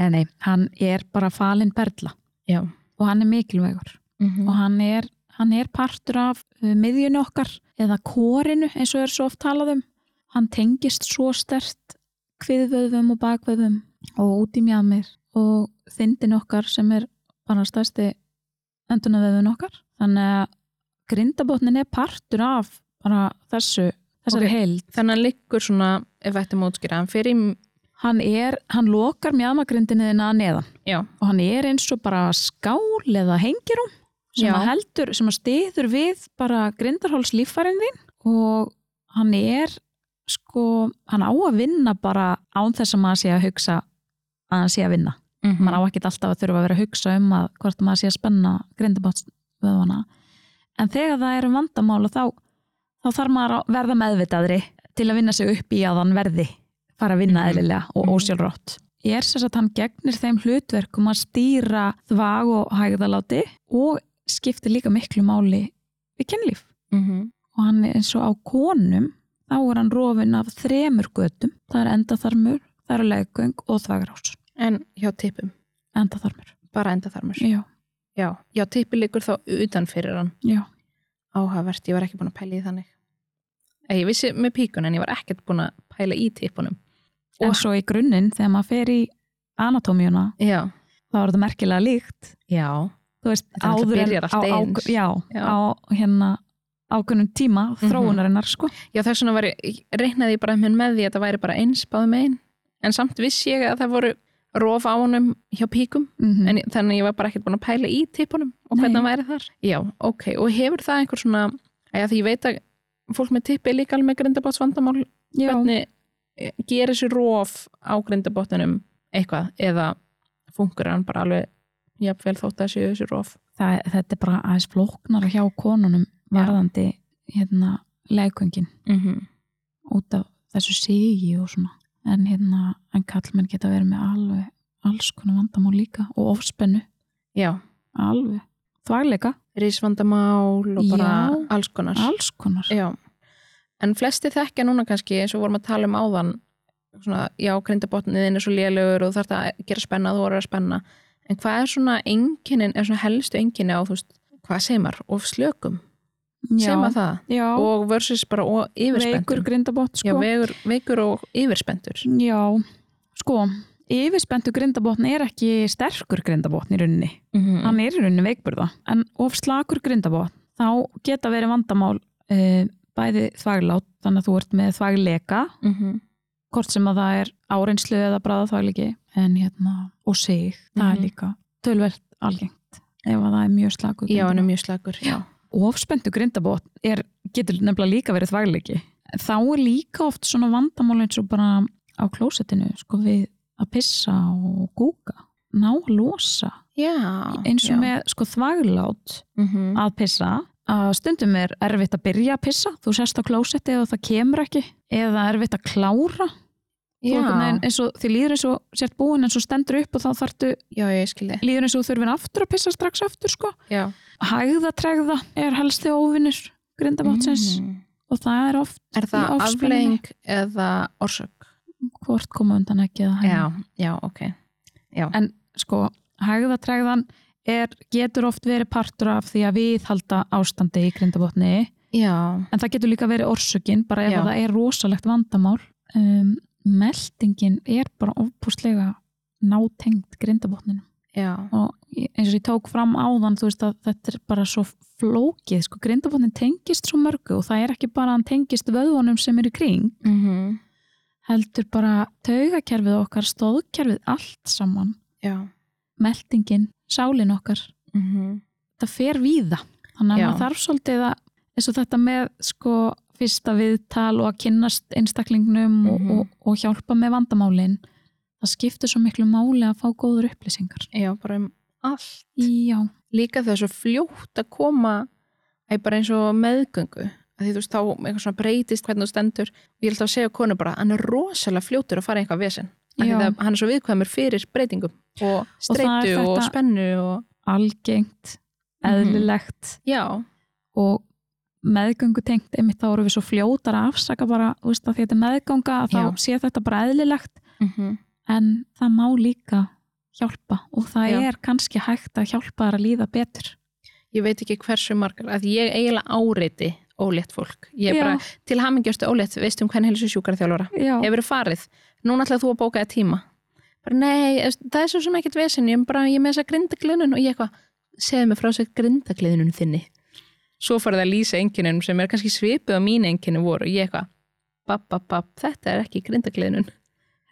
[SPEAKER 2] nei, nei, hann er bara falin berla
[SPEAKER 1] já,
[SPEAKER 2] og hann er mikilvægur
[SPEAKER 1] mhm,
[SPEAKER 2] og hann er, hann er partur af uh, miðjunni okkar eða kórinu eins og er svo oft talað um hann tengist svo stert kviðvöðvum og bakvöðvum og út í mjamir og þindin okkar sem er bara stærsti endunavöðun okkar þannig að grindabotnin er partur af bara þessu þessari
[SPEAKER 1] Ok.
[SPEAKER 2] heild
[SPEAKER 1] þannig að hann liggur svona ef þetta mótskýra, hann fyrir í-
[SPEAKER 2] hann er, hann lokar mjamagrindinniðina að neðan
[SPEAKER 1] já,
[SPEAKER 2] og hann er eins og bara skál eða hengirum sem
[SPEAKER 1] Já.
[SPEAKER 2] að heldur, sem að stiður við bara grindarháls líffærin þín og hann er sko, hann á að vinna bara án þess að maður sé að hugsa að hann sé að vinna.
[SPEAKER 1] mhm,
[SPEAKER 2] Maður á ekkert alltaf að þurfa að vera að hugsa um að hvort maður sé að spenna grindabátsvöðvana en þegar það eru vandamála þá þá þarf maður að verða meðvitaðri til að vinna sig upp í að hann verði fara að vinna
[SPEAKER 1] Mhm.
[SPEAKER 2] eðlilega og
[SPEAKER 1] Mhm.
[SPEAKER 2] ósjálfrátt. Ég er sér að hann gegnir þeim hlutverkum að stýra þvag og hægðaláti og skiptir líka miklu máli við kynlíf.
[SPEAKER 1] mhm,
[SPEAKER 2] Og hann er eins og á konum, þá er hann rofin af þremur götum. Það er endaþarmur, það eru leggöng og þvagrás.
[SPEAKER 1] en hjá tippum
[SPEAKER 2] Endaþarmur.
[SPEAKER 1] bara enda þarmur
[SPEAKER 2] Já,
[SPEAKER 1] já, já, tippi liggur þá utan fyrir hann
[SPEAKER 2] já.
[SPEAKER 1] áhugavert, ég var ekki búin að pæla í þannig Eh, ég vissi með píkun en ég var ekkert búin að pæla í tippunum
[SPEAKER 2] En
[SPEAKER 1] Og-
[SPEAKER 2] svo í grunninn, þegar maður fer í anatómíuna,
[SPEAKER 1] já,
[SPEAKER 2] þá er þetta merkilega líkt.
[SPEAKER 1] já,
[SPEAKER 2] Þú veist,
[SPEAKER 1] Þetta náttúrulega byrjar allt
[SPEAKER 2] á,
[SPEAKER 1] eins.
[SPEAKER 2] já,
[SPEAKER 1] Já.
[SPEAKER 2] á hérna ákveðnum tíma
[SPEAKER 1] Mhm.
[SPEAKER 2] þróunarinnar, sko.
[SPEAKER 1] Já, þess vegna var ég, reiknaði ég bara minn með því að það væri bara eins báðum einn. En samt vissi ég að það voru rof á honum hjá píkum.
[SPEAKER 2] Mm
[SPEAKER 1] En ég, þannig að ég var bara ekkert búin að pæla í tippunum og
[SPEAKER 2] Nei.
[SPEAKER 1] hvernig hann væri þar. Já, ok. Og hefur það einhver svona, að því ég veit að fólk með tippi er líka alveg með grindabátsvandamál.
[SPEAKER 2] Já,
[SPEAKER 1] Hvernig eh, gerir þessi rof á grindabóttunum eitthvað? Eða fungur hann bara alveg, jafnvel þótt að séu þessi rof?
[SPEAKER 2] það, þetta er bara aðeins flóknar hjá konunum varðandi hérna legköngin
[SPEAKER 1] Mm
[SPEAKER 2] Mhm. út af þessu sigi og svona en hérna, en kallmenn geta verið með alveg alls konar vandamál líka og ofspennu,
[SPEAKER 1] Já,
[SPEAKER 2] alveg þvagleika,
[SPEAKER 1] rísvandamál og bara
[SPEAKER 2] Já.
[SPEAKER 1] alls konar.
[SPEAKER 2] alls konar
[SPEAKER 1] Já, en flesti þekkja núna kannski eins og vorum að tala um áðan svona, já, grindabotniðin er svo lélugur og þú þarf að gera spenna, þú voru að spenna en hvað er svona enginin, er svona helstu enginni á, þú veist, hvað segir maður of slökum, segir maður það
[SPEAKER 2] já,
[SPEAKER 1] og versus bara og
[SPEAKER 2] veikur
[SPEAKER 1] yfirspenntur
[SPEAKER 2] grindabótt sko
[SPEAKER 1] Já, vegur, veikur og yfirspenntur
[SPEAKER 2] já, sko yfirspentu grindabótn er ekki sterkur grindabótn í rauninni,
[SPEAKER 1] mm
[SPEAKER 2] hann er í rauninni veikburða, en of slakur grindabótn þá geta verið vandamál e, bæði þvaglát, þannig að þú ert með þvagleika
[SPEAKER 1] Mhm.
[SPEAKER 2] hvort sem að það er áreinslu eða bræðaþvægliki en hérna, og sig, það er
[SPEAKER 1] Mhm.
[SPEAKER 2] líka tölvert algengt ef að það er mjög slakur
[SPEAKER 1] Já, hann er
[SPEAKER 2] grindabotn.
[SPEAKER 1] mjög slakur Já,
[SPEAKER 2] ofspendu grindabót er, getur nefnilega líka verið þvægliki þá er líka oft svona vandamál eins og bara á klósettinu sko við að pissa og gúka ná að losa
[SPEAKER 1] já
[SPEAKER 2] eins
[SPEAKER 1] Ah,
[SPEAKER 2] og
[SPEAKER 1] já.
[SPEAKER 2] með sko þvaglát
[SPEAKER 1] Mhm.
[SPEAKER 2] að pissa að stundum er erfitt að byrja að pissa þú sérst á klósetti og það kemur ekki eða erfitt að klára Þú einhvern
[SPEAKER 1] Já.
[SPEAKER 2] veginn eins og þið líður eins og sért búin en svo stendur upp og þá þartu
[SPEAKER 1] já, ég skildi
[SPEAKER 2] líður eins og þú þurfin aftur að pissa strax aftur sko.
[SPEAKER 1] já.
[SPEAKER 2] Hægðatregða er helsti óvinnur grindabátsins
[SPEAKER 1] Mm.
[SPEAKER 2] og það er oft
[SPEAKER 1] er
[SPEAKER 2] Í
[SPEAKER 1] það
[SPEAKER 2] ofspennunni.
[SPEAKER 1] aflegging eða orsök
[SPEAKER 2] hvort koma undan ekki eða hægða.
[SPEAKER 1] já, já, ok
[SPEAKER 2] Sko, hægðatregðan er, getur oft verið partur af því að við halda ástandi í grindabotni
[SPEAKER 1] já,
[SPEAKER 2] en það getur líka verið orsökin bara ef
[SPEAKER 1] Já.
[SPEAKER 2] að það er rosalegt vandamál um, meldingin er bara ofpúslega nátengt grindabotninu
[SPEAKER 1] já,
[SPEAKER 2] og ég- eins og ég tók fram áðan þú veist að þetta er bara svo flókið sko, grindabotnin tengist svo mörgu og það er ekki bara að hann tengist vöðvunum sem eru í kring
[SPEAKER 1] mhm,
[SPEAKER 2] heldur bara taugakerfið okkar stóðkerfið allt saman
[SPEAKER 1] já
[SPEAKER 2] meldingin, sálin okkar
[SPEAKER 1] mhm,
[SPEAKER 2] þetta fer víða þannig að
[SPEAKER 1] Já.
[SPEAKER 2] maður þarf svolítið að eins og þetta með sko fyrsta viðtal og að kynnast einstaklingnum
[SPEAKER 1] Mhm.
[SPEAKER 2] og, og, og hjálpa með vandamálin það skiptir svo miklu máli að fá góður upplýsingar
[SPEAKER 1] já, bara um allt
[SPEAKER 2] já,
[SPEAKER 1] líka þess að fljótt að koma æ, bara eins og meðgöngu að því þú veist þá eitthvað svona breytist hvernig þú stendur og ég er alltaf að segja konu bara hann er rosalega fljótur að fara í eitthvað vesen Af því
[SPEAKER 2] Já.
[SPEAKER 1] það, hann er svo viðkvæmur fyrir breytingum og
[SPEAKER 2] Og það
[SPEAKER 1] streitu
[SPEAKER 2] er
[SPEAKER 1] og,
[SPEAKER 2] þetta-
[SPEAKER 1] spennu og
[SPEAKER 2] algengt
[SPEAKER 1] Mhm.
[SPEAKER 2] eðlilegt
[SPEAKER 1] já,
[SPEAKER 2] og meðgöngu tengt einmitt þá erum við svo fljótar að afsaka bara, þú veist að þetta er meðganga að þá
[SPEAKER 1] Já.
[SPEAKER 2] sé þetta bara eðlilegt
[SPEAKER 1] mhm,
[SPEAKER 2] en það má líka hjálpa og það
[SPEAKER 1] Já.
[SPEAKER 2] er kannski hægt að hjálpa þær að líða betur
[SPEAKER 1] ég veit ekki hversu margar að ég eiginlega áreiti ólétt fólk ég er
[SPEAKER 2] Já.
[SPEAKER 1] bara, til hamingjöstu ólétt veist um hvernig helstu sjúkarþjálfara
[SPEAKER 2] já,
[SPEAKER 1] hefur farið, núna ætlaði þú að bóka það tíma bara nei, það er svo sem ekkert vesen ég er bara, ég er með þessa grindagliðnun og ég eitthvað, segðu mig frá þess að grindagliðnun þinni svo farið að lýsa enginum sem er kannski svipið á mín enginu voru og ég eitthvað, bap, bap, bap þetta er ekki grindagliðnun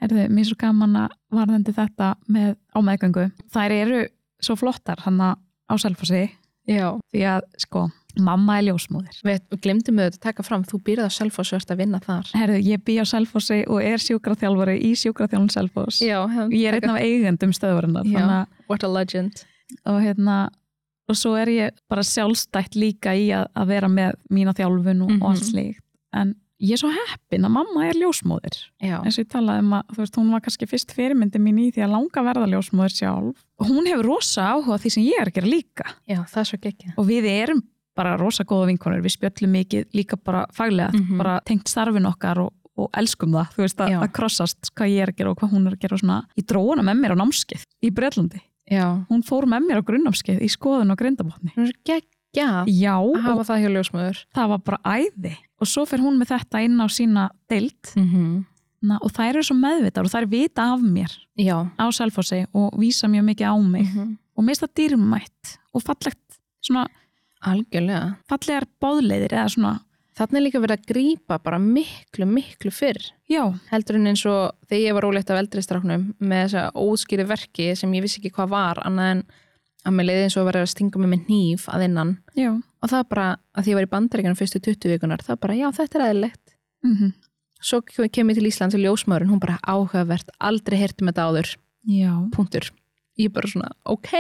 [SPEAKER 2] Herðu, mér er svo gaman að varðandi þetta með, á meðgöngu. Þær eru svo flottar hann á selfasi
[SPEAKER 1] já,
[SPEAKER 2] því að sko, mamma er ljósmóðir.
[SPEAKER 1] við glemdum auðvitað að taka fram þú býrða sjálf og svörst að vinna þar
[SPEAKER 2] Herðu, ég bý á selfasi og er sjúkraþjálfari í sjúkraþjálfun selfos.
[SPEAKER 1] já, hefðum
[SPEAKER 2] Ég er einn
[SPEAKER 1] taka-
[SPEAKER 2] af eigendum stöðvarinnar.
[SPEAKER 1] Já.
[SPEAKER 2] þannig að-
[SPEAKER 1] what a legend
[SPEAKER 2] Og, hérna, og svo er ég bara sjálfstætt líka í að, að vera með mína þjálfun og,
[SPEAKER 1] Mhm.
[SPEAKER 2] og allt slíkt. En ég er svo heppin að mamma er ljósmóðir.
[SPEAKER 1] já,
[SPEAKER 2] eins og ég talaði um að þú veist, hún var kannski fyrst fyrirmyndi mín í því að langa að verða ljósmóður sjálf. Hún hefur rosa áhuga á því sem ég er að gera líka
[SPEAKER 1] já, það er svo gekkja
[SPEAKER 2] og við erum bara rosa góða vinkonur, við spjöllum mikið líka bara faglega,
[SPEAKER 1] Mhm.
[SPEAKER 2] bara tengt starfin okkar og, og elskum það, þú veist, að,
[SPEAKER 1] Já.
[SPEAKER 2] að krossast hvað ég er að gera og hvað hún er að gera og svona. Ég dróði hana með mér á námskeið í Breitlandi.
[SPEAKER 1] já,
[SPEAKER 2] Hún fór með mér á grunnámskeið í skoðun og grindabotni.
[SPEAKER 1] það er svo gekkja að
[SPEAKER 2] Já, og
[SPEAKER 1] hafa það hjá ljósmöður
[SPEAKER 2] það var bara æði. Og svo fer hún með þetta inn á sína deild
[SPEAKER 1] mm -hmm.
[SPEAKER 2] Na, og þær eru svo meðvitar og þær vita af mér
[SPEAKER 1] já,
[SPEAKER 2] á Selfossi og vísa mjög mikið á mig
[SPEAKER 1] mm -hmm.
[SPEAKER 2] og mér finnst það dýrmætt og fallegt, svona
[SPEAKER 1] algjörlega
[SPEAKER 2] fallegar báðleiðir eða svona,
[SPEAKER 1] Þannig er líka verið að grípa bara miklu, miklu fyrr.
[SPEAKER 2] já,
[SPEAKER 1] Heldur en eins og þegar ég var ólegt af eldri stráknum með þessa óskýri verki sem ég vissi ekki hvað var annað en að mér leiði eins og að vera að stinga mig með nýf að innan.
[SPEAKER 2] já
[SPEAKER 1] Og það bara, að því ég var í bandaríkanum fyrstu 20 vikunar, það bara, já, þetta er eðlilegt.
[SPEAKER 2] mm
[SPEAKER 1] Svo kem ég til Íslands í ljósmaðurinn, hún bara áhugavert, aldrei hirti með þetta áður,
[SPEAKER 2] já,
[SPEAKER 1] punktur. Ég bara svona, ok,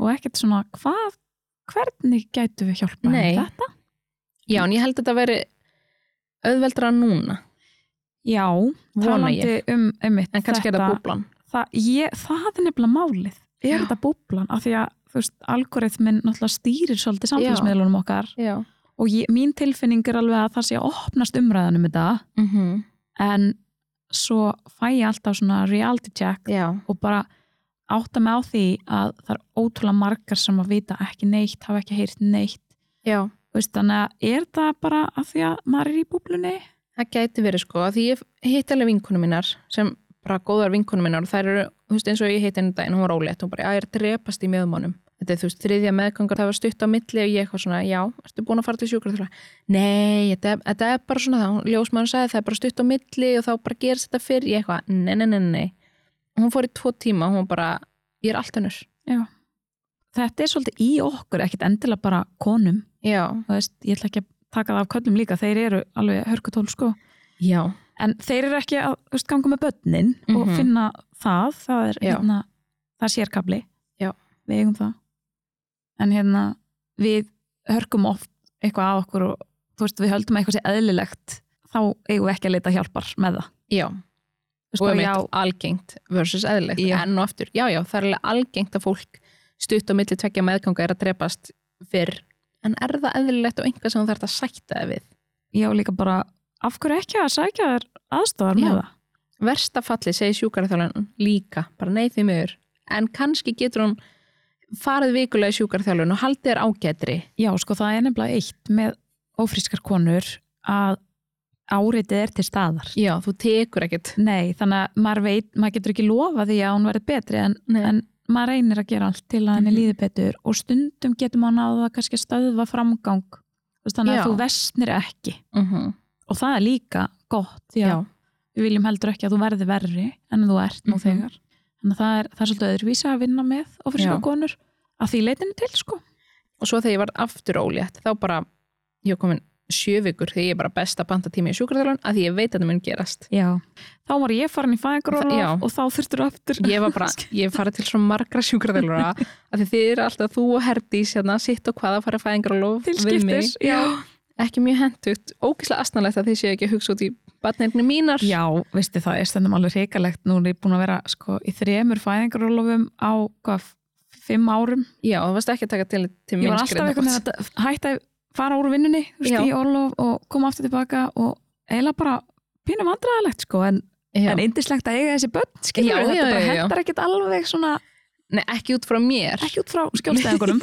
[SPEAKER 2] og ekkert svona hvað, hvernig gætu við hjálpa
[SPEAKER 1] Nei.
[SPEAKER 2] henni þetta?
[SPEAKER 1] já, en ég held að þetta veri auðveldra núna,
[SPEAKER 2] Já,
[SPEAKER 1] vona
[SPEAKER 2] talandi
[SPEAKER 1] ég.
[SPEAKER 2] um, um
[SPEAKER 1] En kannski er það búblan.
[SPEAKER 2] það, ég, það er nefnilega málið,
[SPEAKER 1] Já.
[SPEAKER 2] er þetta búblan af því að, þú veist, algoritminn náttúrulega stýrir svolítið samfélagsmiðlunum okkar
[SPEAKER 1] Já.
[SPEAKER 2] og ég, mín tilfinning er alveg að það sé að opnast umræðanum þetta
[SPEAKER 1] Mm
[SPEAKER 2] en svo fæ ég alltaf svona reality check
[SPEAKER 1] já.
[SPEAKER 2] og bara átta mig á því að það er ótrúlega margar sem að vita ekki neitt, hafa ekki heyrt neitt
[SPEAKER 1] Já.
[SPEAKER 2] Þú veist, þannig að er það bara að því að maður er í búblunni
[SPEAKER 1] Það gæti verið sko, af því ég hitt alveg vinkunum mínar sem bara góðar vinkunum mínar og þær eru, þú veist, eins og ég hitt einu daginn, hún var ólétt, hún bara, já, ég er að drepast í meðmánum. Þetta er, þú veist, þriðja meðgangar, það var stutt á milli og ég eitthvað svona, já, ertu búin að fara til sjúkur? Nei, þetta, er- þetta er bara svona það, ljósmaður sagði, það er bara stutt á milli og þá bara gerist þetta fyrr, ég eitthvað, nei, nei, nei, nei. Hún fór í tvo tíma, hún bara, ég er allt önnur.
[SPEAKER 2] þetta er svolítið í okkur, ekkit endilega bara konum,
[SPEAKER 1] Já,
[SPEAKER 2] þú veist, ég ætla ekki að taka það af köllum líka, þeir eru alveg hörkutól sko,
[SPEAKER 1] já,
[SPEAKER 2] en þeir eru ekki að þú veist, ganga með börnin og
[SPEAKER 1] Mhm.
[SPEAKER 2] finna það, það er
[SPEAKER 1] Já.
[SPEAKER 2] hérna, það er sérkabli
[SPEAKER 1] Já.
[SPEAKER 2] við eigum það en hérna, við hörkum oft eitthvað að okkur og þú veist, við höldum að eitthvað sé eðlilegt þá eigum við ekki að leita hjálpar með það
[SPEAKER 1] já, og
[SPEAKER 2] sko,
[SPEAKER 1] um
[SPEAKER 2] já,
[SPEAKER 1] algengt versus eðlilegt
[SPEAKER 2] Já.
[SPEAKER 1] enn og aftur, já já, það er alveg algengt að fólk stutt á milli tvekja meðganga er að drepast fyrr, en er það eðlilegt og einhvað sem þú þarf að sætta þig við
[SPEAKER 2] já, líka bara af hverju ekki að sækja þér aðstofar
[SPEAKER 1] Já.
[SPEAKER 2] með það?
[SPEAKER 1] versta falli segir sjúkarþjálun líka, bara nei því miður en kannski getur hún farið vikulega í sjúkarþjálun og haldið er ágætri
[SPEAKER 2] Já, sko, það er nefnilega eitt með ófrískar konur að áritið er til staðar.
[SPEAKER 1] já, þú tekur ekkert
[SPEAKER 2] Nei, þannig að maður veit, maður getur ekki lofa því að hún verði betri en,
[SPEAKER 1] Nei.
[SPEAKER 2] en maður reynir að gera allt til að henni
[SPEAKER 1] Mhm.
[SPEAKER 2] líði betur og stundum getur maður náða að kannski að stöðva framgang. Þú veist, Þannig
[SPEAKER 1] Já.
[SPEAKER 2] að þú vestnir ekki
[SPEAKER 1] mm -hmm.
[SPEAKER 2] og það er líka gott því að
[SPEAKER 1] já,
[SPEAKER 2] við viljum heldur ekki að þú verði verri en þú ert nú
[SPEAKER 1] Mhm.
[SPEAKER 2] þegar. Þannig að það er, það er svolítið öðruvísa að vinna með og fyrir
[SPEAKER 1] Já.
[SPEAKER 2] konur að því leitinu til sko.
[SPEAKER 1] og svo þegar ég var aftur ólétt þá bara, ég var komin sjö vikur þegar ég er bara best að panta tími í sjúkarþjálun að því ég veit að það mun gerast
[SPEAKER 2] Já. Þá var ég farin
[SPEAKER 1] Það-
[SPEAKER 2] í
[SPEAKER 1] já.
[SPEAKER 2] fæðingaróla og þá þurftur aftur.
[SPEAKER 1] ég var bara, ég hef farið til svo margra sjúkarþjálfara af því þið eru alltaf þú og Herdís hérna, sitt og hvað að fara fæðingar og lof
[SPEAKER 2] Til
[SPEAKER 1] við mig,
[SPEAKER 2] skiptis, já.
[SPEAKER 1] ekki mjög hendugt ógislega astnalegt að þið séu ekki að hugsa út í batnirni mínar,
[SPEAKER 2] Já, veistu það er stendum alveg hrikalegt. Nú er ég búin að vera sko, í þremur fæðingarólofum á hvað, fimm árum.
[SPEAKER 1] Já, þú varst ekki að taka til, til
[SPEAKER 2] Ég var
[SPEAKER 1] minnskri
[SPEAKER 2] alltaf einhvern veginn að hætta að fara úr vinnunni þú veist,
[SPEAKER 1] Já.
[SPEAKER 2] í orlof og koma aftur tilbaka og eiginlega bara pínum andraðalegt sko, en, en indislegt að eiga þessi börn, skilur
[SPEAKER 1] Já, já,
[SPEAKER 2] við, þetta bara
[SPEAKER 1] já, já.
[SPEAKER 2] hendar ekkert alveg svona,
[SPEAKER 1] Nei, ekki út frá mér
[SPEAKER 2] ekki út frá skjólstæðingunum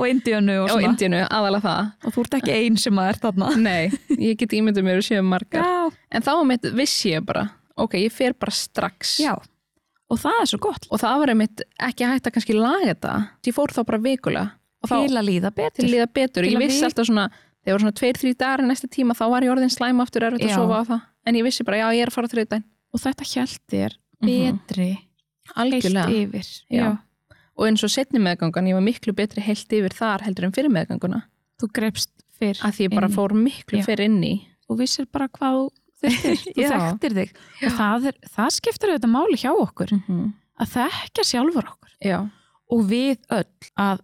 [SPEAKER 2] og indíönu og
[SPEAKER 1] á
[SPEAKER 2] svona,
[SPEAKER 1] Indínu, aðalega það
[SPEAKER 2] og þú ert ekki einn sem að er þarna.
[SPEAKER 1] Nei, ég get ímyndið mér að séu margar
[SPEAKER 2] Já,
[SPEAKER 1] En þá um mitt vissi ég bara, ok, ég fer bara strax
[SPEAKER 2] já, og það er svo gott
[SPEAKER 1] Og það var einmitt ekki hægt að kannski laga þetta Ég fór þá bara vikulega Og þá
[SPEAKER 2] til að líða
[SPEAKER 1] til
[SPEAKER 2] betur.
[SPEAKER 1] að líða betur.
[SPEAKER 2] Til
[SPEAKER 1] Ég
[SPEAKER 2] að
[SPEAKER 1] vissi
[SPEAKER 2] við-
[SPEAKER 1] alltaf svona, þegar voru svona tveir, þrjú dagar í næsta tíma, þá var ég orðin slæma aftur erfitt að
[SPEAKER 2] Já.
[SPEAKER 1] sofa á það. En ég vissi bara, já, ég er að fara þrjóð dæn.
[SPEAKER 2] Og þetta hjælt þér
[SPEAKER 1] Mhm.
[SPEAKER 2] betri heilt
[SPEAKER 1] Algjörlega.
[SPEAKER 2] yfir
[SPEAKER 1] Já. Og eins og setni meðgangan, ég var miklu betri heilt yfir þar heldur en fyrir meðganguna.
[SPEAKER 2] þú grepst fyrr
[SPEAKER 1] Að því ég bara
[SPEAKER 2] Inn í.
[SPEAKER 1] fór miklu
[SPEAKER 2] Já.
[SPEAKER 1] fyrir inn í.
[SPEAKER 2] þú vissir bara hvað þú þurftir þú
[SPEAKER 1] Já.
[SPEAKER 2] þekktir þig og það, er, það skiptir auðvitað máli hjá okkur
[SPEAKER 1] -hmm.
[SPEAKER 2] að þekka sjálfur okkur
[SPEAKER 1] Já.
[SPEAKER 2] og við öll að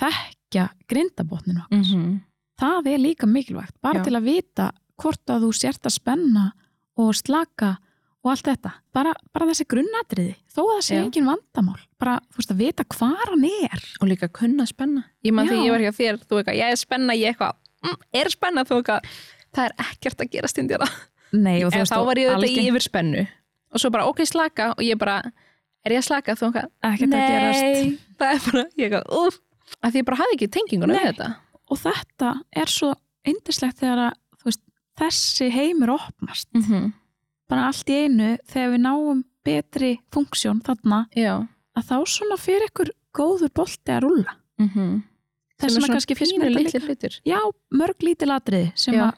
[SPEAKER 2] þekka grindabotnin okkur
[SPEAKER 1] Mm
[SPEAKER 2] það er líka mikilvægt, bara
[SPEAKER 1] Já.
[SPEAKER 2] til að vita hvort að þú sért að spenna og slaka og allt þetta bara, bara þessi grunnatriði, þó að það sé
[SPEAKER 1] Já.
[SPEAKER 2] engin vandamál bara, þú veist, að vita hvar hann er
[SPEAKER 1] Og líka kunna spenna. Ég maður
[SPEAKER 2] Já.
[SPEAKER 1] þegar ég var hjá þér, þú eitthvað, ég er spenna, ég eitthvað, mm, er spenna, þú eitthvað, það er ekkert að gera stundjara.
[SPEAKER 2] Nei, og þú
[SPEAKER 1] En
[SPEAKER 2] veist,
[SPEAKER 1] þá
[SPEAKER 2] og
[SPEAKER 1] var ég auðvitað í
[SPEAKER 2] algengt
[SPEAKER 1] yfir Og svo bara, ok, slaka, og ég bara, er ég að slaka, þú eitthvað,
[SPEAKER 2] ekkert að gerast
[SPEAKER 1] það er bara, ég eitthvað, úf, að því ég bara hafði ekki tenginguna við
[SPEAKER 2] Nei.
[SPEAKER 1] þetta.
[SPEAKER 2] og þetta er svo yndislegt þegar að þú veist, þessi heimur opnast
[SPEAKER 1] Mm -hmm.
[SPEAKER 2] bara allt í einu þegar við náum betri funksjón þarna
[SPEAKER 1] Já.
[SPEAKER 2] að þá svona fyrir ykkur góður bolti að rúlla
[SPEAKER 1] Mm -hmm.
[SPEAKER 2] þess vegna kannski finnst mér þetta
[SPEAKER 1] litli
[SPEAKER 2] líka
[SPEAKER 1] hlutir.
[SPEAKER 2] já, mörg lítil atriði sem
[SPEAKER 1] Já.
[SPEAKER 2] að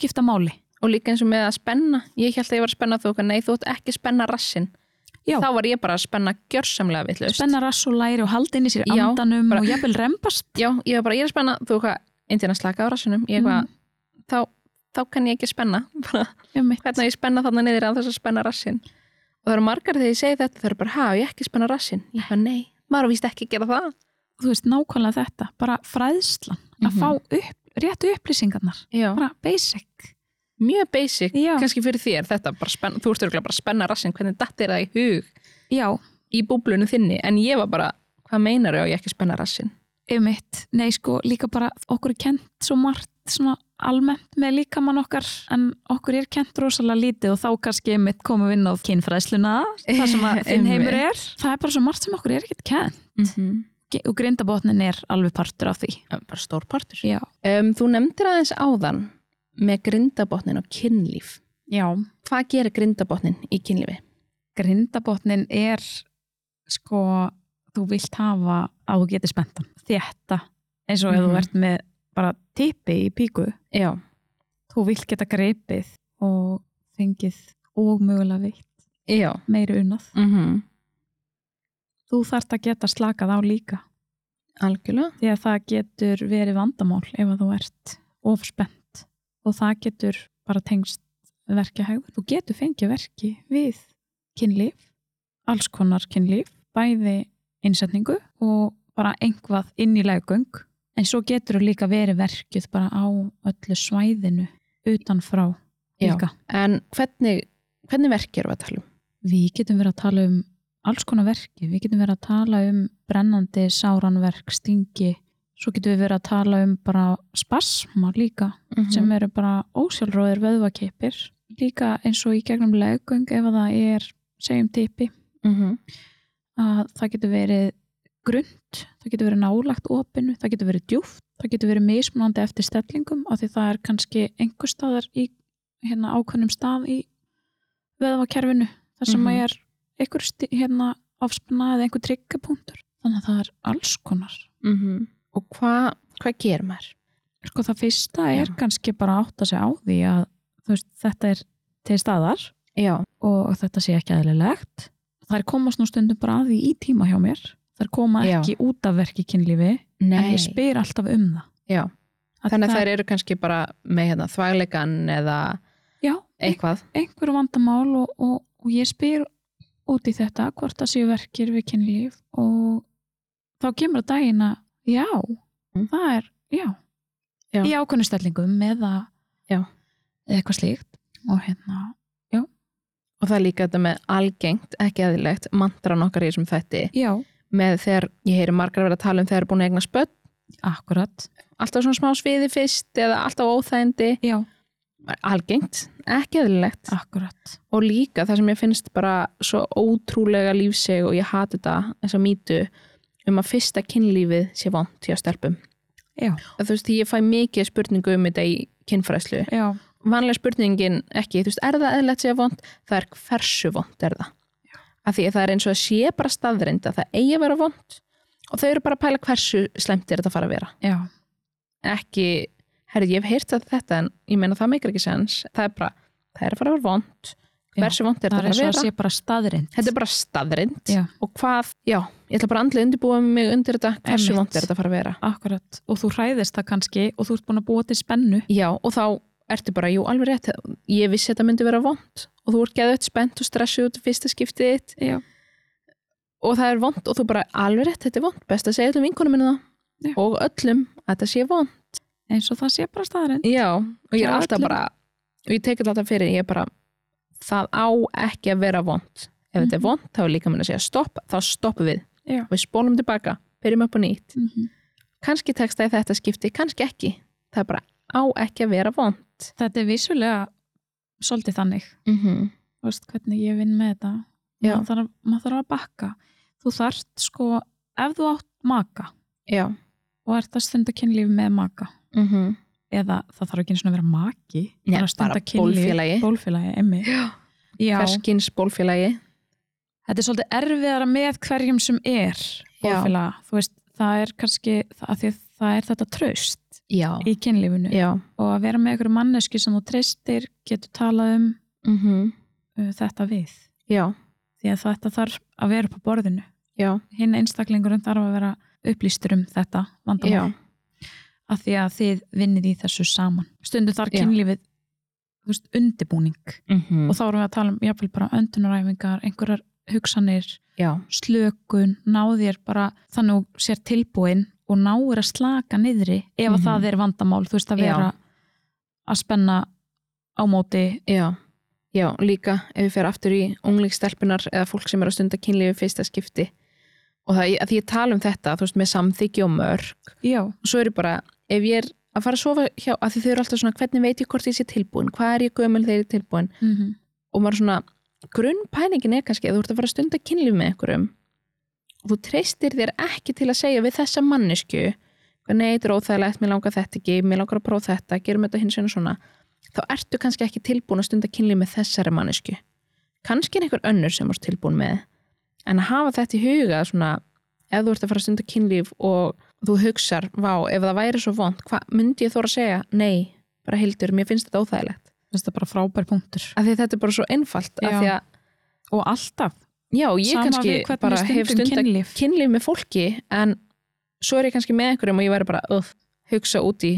[SPEAKER 2] skipta máli
[SPEAKER 1] Og líka eins og með að spenna, ég held að ég var að spenna þú okkar, nei, þú ætti ekki að spenna rassin.
[SPEAKER 2] Já.
[SPEAKER 1] Þá var ég bara að spenna gjörsamlega vitlaust.
[SPEAKER 2] spenna rass og læri og halda inn í sér
[SPEAKER 1] Já,
[SPEAKER 2] andanum
[SPEAKER 1] bara-
[SPEAKER 2] og jafnvel rempast
[SPEAKER 1] Já, ég var bara, ég er að spenna, þú okkar, indíðan að slaka á rassinum, ég
[SPEAKER 2] Mhm.
[SPEAKER 1] eitthvað, þá, þá kann ég ekki spenna. Bara,
[SPEAKER 2] um
[SPEAKER 1] Hvernig á ég að spenna þarna niður að þess að spenna rassin? Og það eru margar þegar ég segi þetta, það eru bara, ha, á ég ekki að spenna rassin. Ég eitthvað, nei, maður víst ekki að gera það.
[SPEAKER 2] þú veist, nákvæmlega þetta, bara fræðslan
[SPEAKER 1] Mhm.
[SPEAKER 2] að fá upp, réttu upplýsingarnar
[SPEAKER 1] Já.
[SPEAKER 2] bara basic
[SPEAKER 1] mjög basic,
[SPEAKER 2] Já.
[SPEAKER 1] kannski fyrir þér þetta, bara spenna, þú ert örgulega bara að spenna rassin hvernig datt er það í hug
[SPEAKER 2] já,
[SPEAKER 1] í búblunum þinni, en ég var bara hvað meinar ég á ég ekki að spenna rassin
[SPEAKER 2] Einmitt, nei sko líka bara okkur er kent svo margt svona almennt með líkamann okkar en okkur er kent rosalega lítið og þá kannski einmitt komum við inn á kynfræðsluna það sem að þinn heimur er það er bara svo margt sem okkur er ekkert kent
[SPEAKER 1] mm -hmm.
[SPEAKER 2] Ge- og grindabotnin er alveg partur af því
[SPEAKER 1] bara stór partur
[SPEAKER 2] Já,
[SPEAKER 1] um, Þú nefndir aðeins áðan með grindabotnin og kynlíf
[SPEAKER 2] Já.
[SPEAKER 1] hvað gerir grindabotnin í kynlífi?
[SPEAKER 2] grindabotnin er sko þú vilt hafa að þú getur spenntan þetta eins og ef
[SPEAKER 1] Mhm.
[SPEAKER 2] þú ert með bara tippi í píku
[SPEAKER 1] Já,
[SPEAKER 2] þú vilt geta greipið og fengið og mögulega veitt
[SPEAKER 1] já
[SPEAKER 2] meiri unnað.
[SPEAKER 1] mm
[SPEAKER 2] Þú þarft að geta slakað á líka
[SPEAKER 1] algjörlega
[SPEAKER 2] því að það getur verið vandamál ef að þú ert ofspennt og það getur bara tengst verkja Þú getur fengið verki við kynlíf, alls konar kynlíf, bæði innsetningu og bara einhvað inn í legung en svo getur þú líka verið verkjuð bara á öllu svæðinu utanfrá
[SPEAKER 1] Já.
[SPEAKER 2] líka.
[SPEAKER 1] En hvernig, hvernig verk erum við að tala um?
[SPEAKER 2] við getum verið að tala um alls konar verki, við getum verið að tala um brennandi sáranverk, stingi svo getum við verið að tala um bara spasma líka
[SPEAKER 1] Mhm.
[SPEAKER 2] sem eru bara ósjálfróðir vöðvakipir líka eins og í gegnum leggöng ef að það er segjum tipi
[SPEAKER 1] Mhm.
[SPEAKER 2] að það getur verið grund, það getur verið nálagt opinu, það getur verið djúft, það getur verið mismunandi eftir stellingum af því það er kannski einhver staðar í hérna ákveðnum stað í veðvakerfinu þar sem
[SPEAKER 1] Mhm.
[SPEAKER 2] að er einhver sti, hérna afspanna eða einhver tryggjapunktur þannig að það er alls konar
[SPEAKER 1] Mhm. Og hvað hva gerir maður?
[SPEAKER 2] sko það fyrsta er
[SPEAKER 1] Já.
[SPEAKER 2] kannski bara að átta sig á því að þú veist, þetta er til staðar
[SPEAKER 1] Já.
[SPEAKER 2] og þetta sé ekki aðlilegt þær komast nú stundum bara að því í tíma hjá mér þær koma
[SPEAKER 1] Já.
[SPEAKER 2] ekki út af verki kynlífi en
[SPEAKER 1] Nei.
[SPEAKER 2] ég spyr alltaf um það
[SPEAKER 1] Já.
[SPEAKER 2] Að
[SPEAKER 1] Þannig að
[SPEAKER 2] það-
[SPEAKER 1] þær eru kannski bara með hérna, þvægleikan eða
[SPEAKER 2] já, ein,
[SPEAKER 1] eitthvað.
[SPEAKER 2] einhverju vandamál og, og, og ég spyr út í þetta hvort það séu verkir við kynlíf og þá kemur að daginn að já,
[SPEAKER 1] Mm.
[SPEAKER 2] það er já,
[SPEAKER 1] Já.
[SPEAKER 2] í ákveðnu stellingum eða
[SPEAKER 1] Já.
[SPEAKER 2] eða eitthvað slíkt og hérna,
[SPEAKER 1] Og það er líka þetta með algengt, ekki aðilegt, mantran okkar í þessum þætti
[SPEAKER 2] já,
[SPEAKER 1] með þegar, ég heyri margar verið að tala um þegar er búin að eigna spött,
[SPEAKER 2] akkurat
[SPEAKER 1] alltaf svona smá sviði fyrst eða alltaf óþægindi,
[SPEAKER 2] já,
[SPEAKER 1] algengt, ekki aðilegt.
[SPEAKER 2] akkurat
[SPEAKER 1] og líka það sem ég finnst bara svo ótrúlega lífseg og ég hati þetta, þess að mýtu um að fyrsta kynlífið sé vond hjá stelpum.
[SPEAKER 2] já,
[SPEAKER 1] Að Þú veist, ég fæ mikið spurningu um þetta í kynfræðslu.
[SPEAKER 2] já,
[SPEAKER 1] Vanlega spurningin ekki, þú veist, er það eðlilegt sé vond? Það er hversu vond er það? Af því að það er eins og að sé bara staðreind að það eigi að vera vond og þau eru bara að pæla hversu slemt er þetta að fara að vera.
[SPEAKER 2] já
[SPEAKER 1] Ekki, herri, ég hef heyrt að þetta en ég meina það meikir ekki sens. Það er bara, það er að fara að vera vond.
[SPEAKER 2] Já,
[SPEAKER 1] Hversu vond er
[SPEAKER 2] það
[SPEAKER 1] þetta
[SPEAKER 2] er
[SPEAKER 1] að
[SPEAKER 2] eins og
[SPEAKER 1] fara að
[SPEAKER 2] að
[SPEAKER 1] vera?
[SPEAKER 2] sé bara staðrind
[SPEAKER 1] Þetta er bara staðrind
[SPEAKER 2] Já.
[SPEAKER 1] og hvað, já, ég ætla bara andlega undirbúa mig undir þetta, hversu
[SPEAKER 2] Einmitt.
[SPEAKER 1] vond er þetta að fara að vera.
[SPEAKER 2] Akkurat, og þú hræðist það kannski og þú ert búin að búa til spennu
[SPEAKER 1] Já, og þá ertu bara, jú, alveg rétt, ég vissi þetta myndi vera vond og þú ert geðið spennt og stressuð út í fyrsta skiptið þitt
[SPEAKER 2] Já.
[SPEAKER 1] og það er vond og þú bara, alveg rétt, þetta er vond, best að segja öllum vinkunum minna það
[SPEAKER 2] Já.
[SPEAKER 1] og öllum að þetta sé vond.
[SPEAKER 2] eins og það sé bara staðrind
[SPEAKER 1] Já, og ég er
[SPEAKER 2] Já,
[SPEAKER 1] alltaf
[SPEAKER 2] öllum.
[SPEAKER 1] bara, og ég tekið alltaf fyrir, ég er bara, það á ekki að vera vond. Ef þetta er
[SPEAKER 2] Mhm.
[SPEAKER 1] vond, þá er líka minn að segja stopp, þá stoppum við.
[SPEAKER 2] Já.
[SPEAKER 1] Við spólum tilbaka, byrjum upp á nýtt.
[SPEAKER 2] mm -hmm.
[SPEAKER 1] kannski tekst það í þetta skipti, kannski ekki. Það er bara á ekki að vera vond.
[SPEAKER 2] Þetta er vissulega svolítið þannig,
[SPEAKER 1] Mm -hmm.
[SPEAKER 2] þú veist hvernig ég vinn með þetta
[SPEAKER 1] Já.
[SPEAKER 2] maður þarf, maður þarf að bakka þú þarft sko, ef þú átt maka
[SPEAKER 1] Já.
[SPEAKER 2] og ert að stunda kynlíf með maka
[SPEAKER 1] Mm
[SPEAKER 2] Mhm.
[SPEAKER 1] -hmm.
[SPEAKER 2] eða það þarf ekki einu sinni að vera maki
[SPEAKER 1] Nei,
[SPEAKER 2] það er að
[SPEAKER 1] bara
[SPEAKER 2] stunda kynlíf,
[SPEAKER 1] bólfélagi.
[SPEAKER 2] bólfélagi emmi.
[SPEAKER 1] Já.
[SPEAKER 2] Já,
[SPEAKER 1] Ferskins bólfélagi.
[SPEAKER 2] þetta er svolítið erfiðara með hverjum sem er bólfélaga, þú veist, það er kannski það, af því að það er þetta tröst
[SPEAKER 1] Já.
[SPEAKER 2] í kynlífinu
[SPEAKER 1] Já.
[SPEAKER 2] og að vera með einhverju mannesku sem þú treystir getur talað um
[SPEAKER 1] Mm -hmm.
[SPEAKER 2] uh, þetta við
[SPEAKER 1] Já.
[SPEAKER 2] því að þetta þarf að vera upp á borðinu
[SPEAKER 1] Já.
[SPEAKER 2] hinn einstaklingurinn þarf að vera upplýstur um þetta vandamál
[SPEAKER 1] Já.
[SPEAKER 2] af því að þið vinnið í þessu saman stundum þar
[SPEAKER 1] Já.
[SPEAKER 2] kynlífið þú veist, undirbúning
[SPEAKER 1] Mm -hmm.
[SPEAKER 2] og þá erum við að tala um jáfnvel bara öndunaræfingar einhverjar hugsanir,
[SPEAKER 1] Já.
[SPEAKER 2] slökun náðir bara þannig að þú sér tilbúin og náir að slaka niðri ef að
[SPEAKER 1] Mhm.
[SPEAKER 2] það er vandamál, þú veist að
[SPEAKER 1] Já.
[SPEAKER 2] vera að spenna á móti
[SPEAKER 1] Já. Já, líka ef við fer aftur í unglingstelpunar eða fólk sem er að stunda kynlífi fyrsta skipti. Og það, að því ég tala um þetta, þú veist, með samþykki og mörg.
[SPEAKER 2] já,
[SPEAKER 1] Svo er ég bara, ef ég er að fara að sofa hjá, að því þau eru alltaf svona, hvernig veit ég hvort ég sé tilbúin? Hvað er ég gömul þegar ég er tilbúin?
[SPEAKER 2] mm
[SPEAKER 1] og maður svona, grunnpæningin er kannski að þú ert að fara að stunda kynlíf með einhverjum og þú treystir þér ekki til að segja við þessa mannesku nei, þetta er óþægilegt, mér langar þetta ekki mér langar að prófa þetta, gerum þetta hins vegar svona þá ertu kannski ekki tilbúin að stunda kynlíf með þessari mannesku kannski er einhver önnur sem þú ert tilbúin með en að hafa þetta í huga svona, ef þú ert að fara að stunda kynlíf og þú hugsar, vá, ef það væri svo vond hvað myndi ég þóra að segja? Nei, bara hildur, mér finnst þetta óþægilegt
[SPEAKER 2] þetta er bara frábær punktur
[SPEAKER 1] af því að þetta er bara svo einfalt af
[SPEAKER 2] Já.
[SPEAKER 1] því að
[SPEAKER 2] og alltaf
[SPEAKER 1] Já, ég
[SPEAKER 2] Sama við
[SPEAKER 1] kannski
[SPEAKER 2] hvernig
[SPEAKER 1] bara
[SPEAKER 2] við
[SPEAKER 1] hef
[SPEAKER 2] stundum
[SPEAKER 1] stund að
[SPEAKER 2] kynlíf.
[SPEAKER 1] kynlíf með fólki en svo er ég kannski með einhverjum og ég væri bara öf, hugsa út í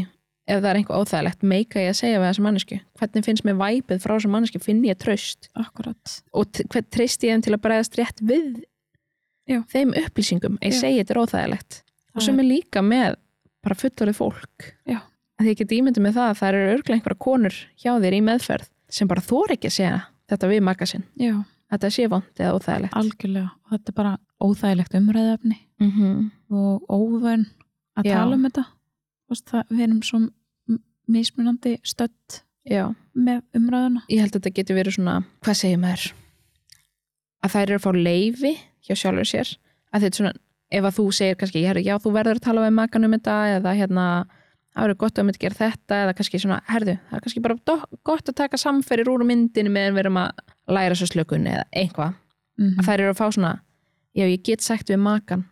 [SPEAKER 1] ef það er einhver óþægilegt, meika ég að segja við þessa mannesku hvernig finnst mér væpið frá þessa mannesku finn ég tröst
[SPEAKER 2] Akkurat.
[SPEAKER 1] og t- hvern treyst ég þeim til að bregðast rétt við
[SPEAKER 2] Já.
[SPEAKER 1] þeim upplýsingum ég
[SPEAKER 2] Já.
[SPEAKER 1] segi þetta er óþægilegt og sem
[SPEAKER 2] er,
[SPEAKER 1] er líka með bara fullorðið fólk
[SPEAKER 2] Já.
[SPEAKER 1] að ég geti ímyndið með það að það eru örglega einhverja konur hjá þér í meðferð sem bara þor ekki að segja þetta við magasinn
[SPEAKER 2] já,
[SPEAKER 1] þetta sé vond eða óþægilegt
[SPEAKER 2] algjörlega, og þetta er bara óþægilegt umræðafni
[SPEAKER 1] mm -hmm.
[SPEAKER 2] og óvön að
[SPEAKER 1] Já.
[SPEAKER 2] tala um þetta Þú veist, það, við erum svo m- mismunandi stödd
[SPEAKER 1] Já,
[SPEAKER 2] með umræðuna
[SPEAKER 1] ég held að þetta getur verið svona hvað segir maður að þær eru að fá leifi hjá sjálfur sér að þetta er svona, ef að þú segir kannski, herri, já, þú verður að tala við makan um þetta eða hérna, það verður gott að um þetta gera þetta eða kannski svona, herðu, það er kannski bara do- gott að taka samferðir úr myndinu meðan við erum að læra svo slökunni eða einhvað
[SPEAKER 2] mm
[SPEAKER 1] að þær eru að fá svona já, ég get sagt við makan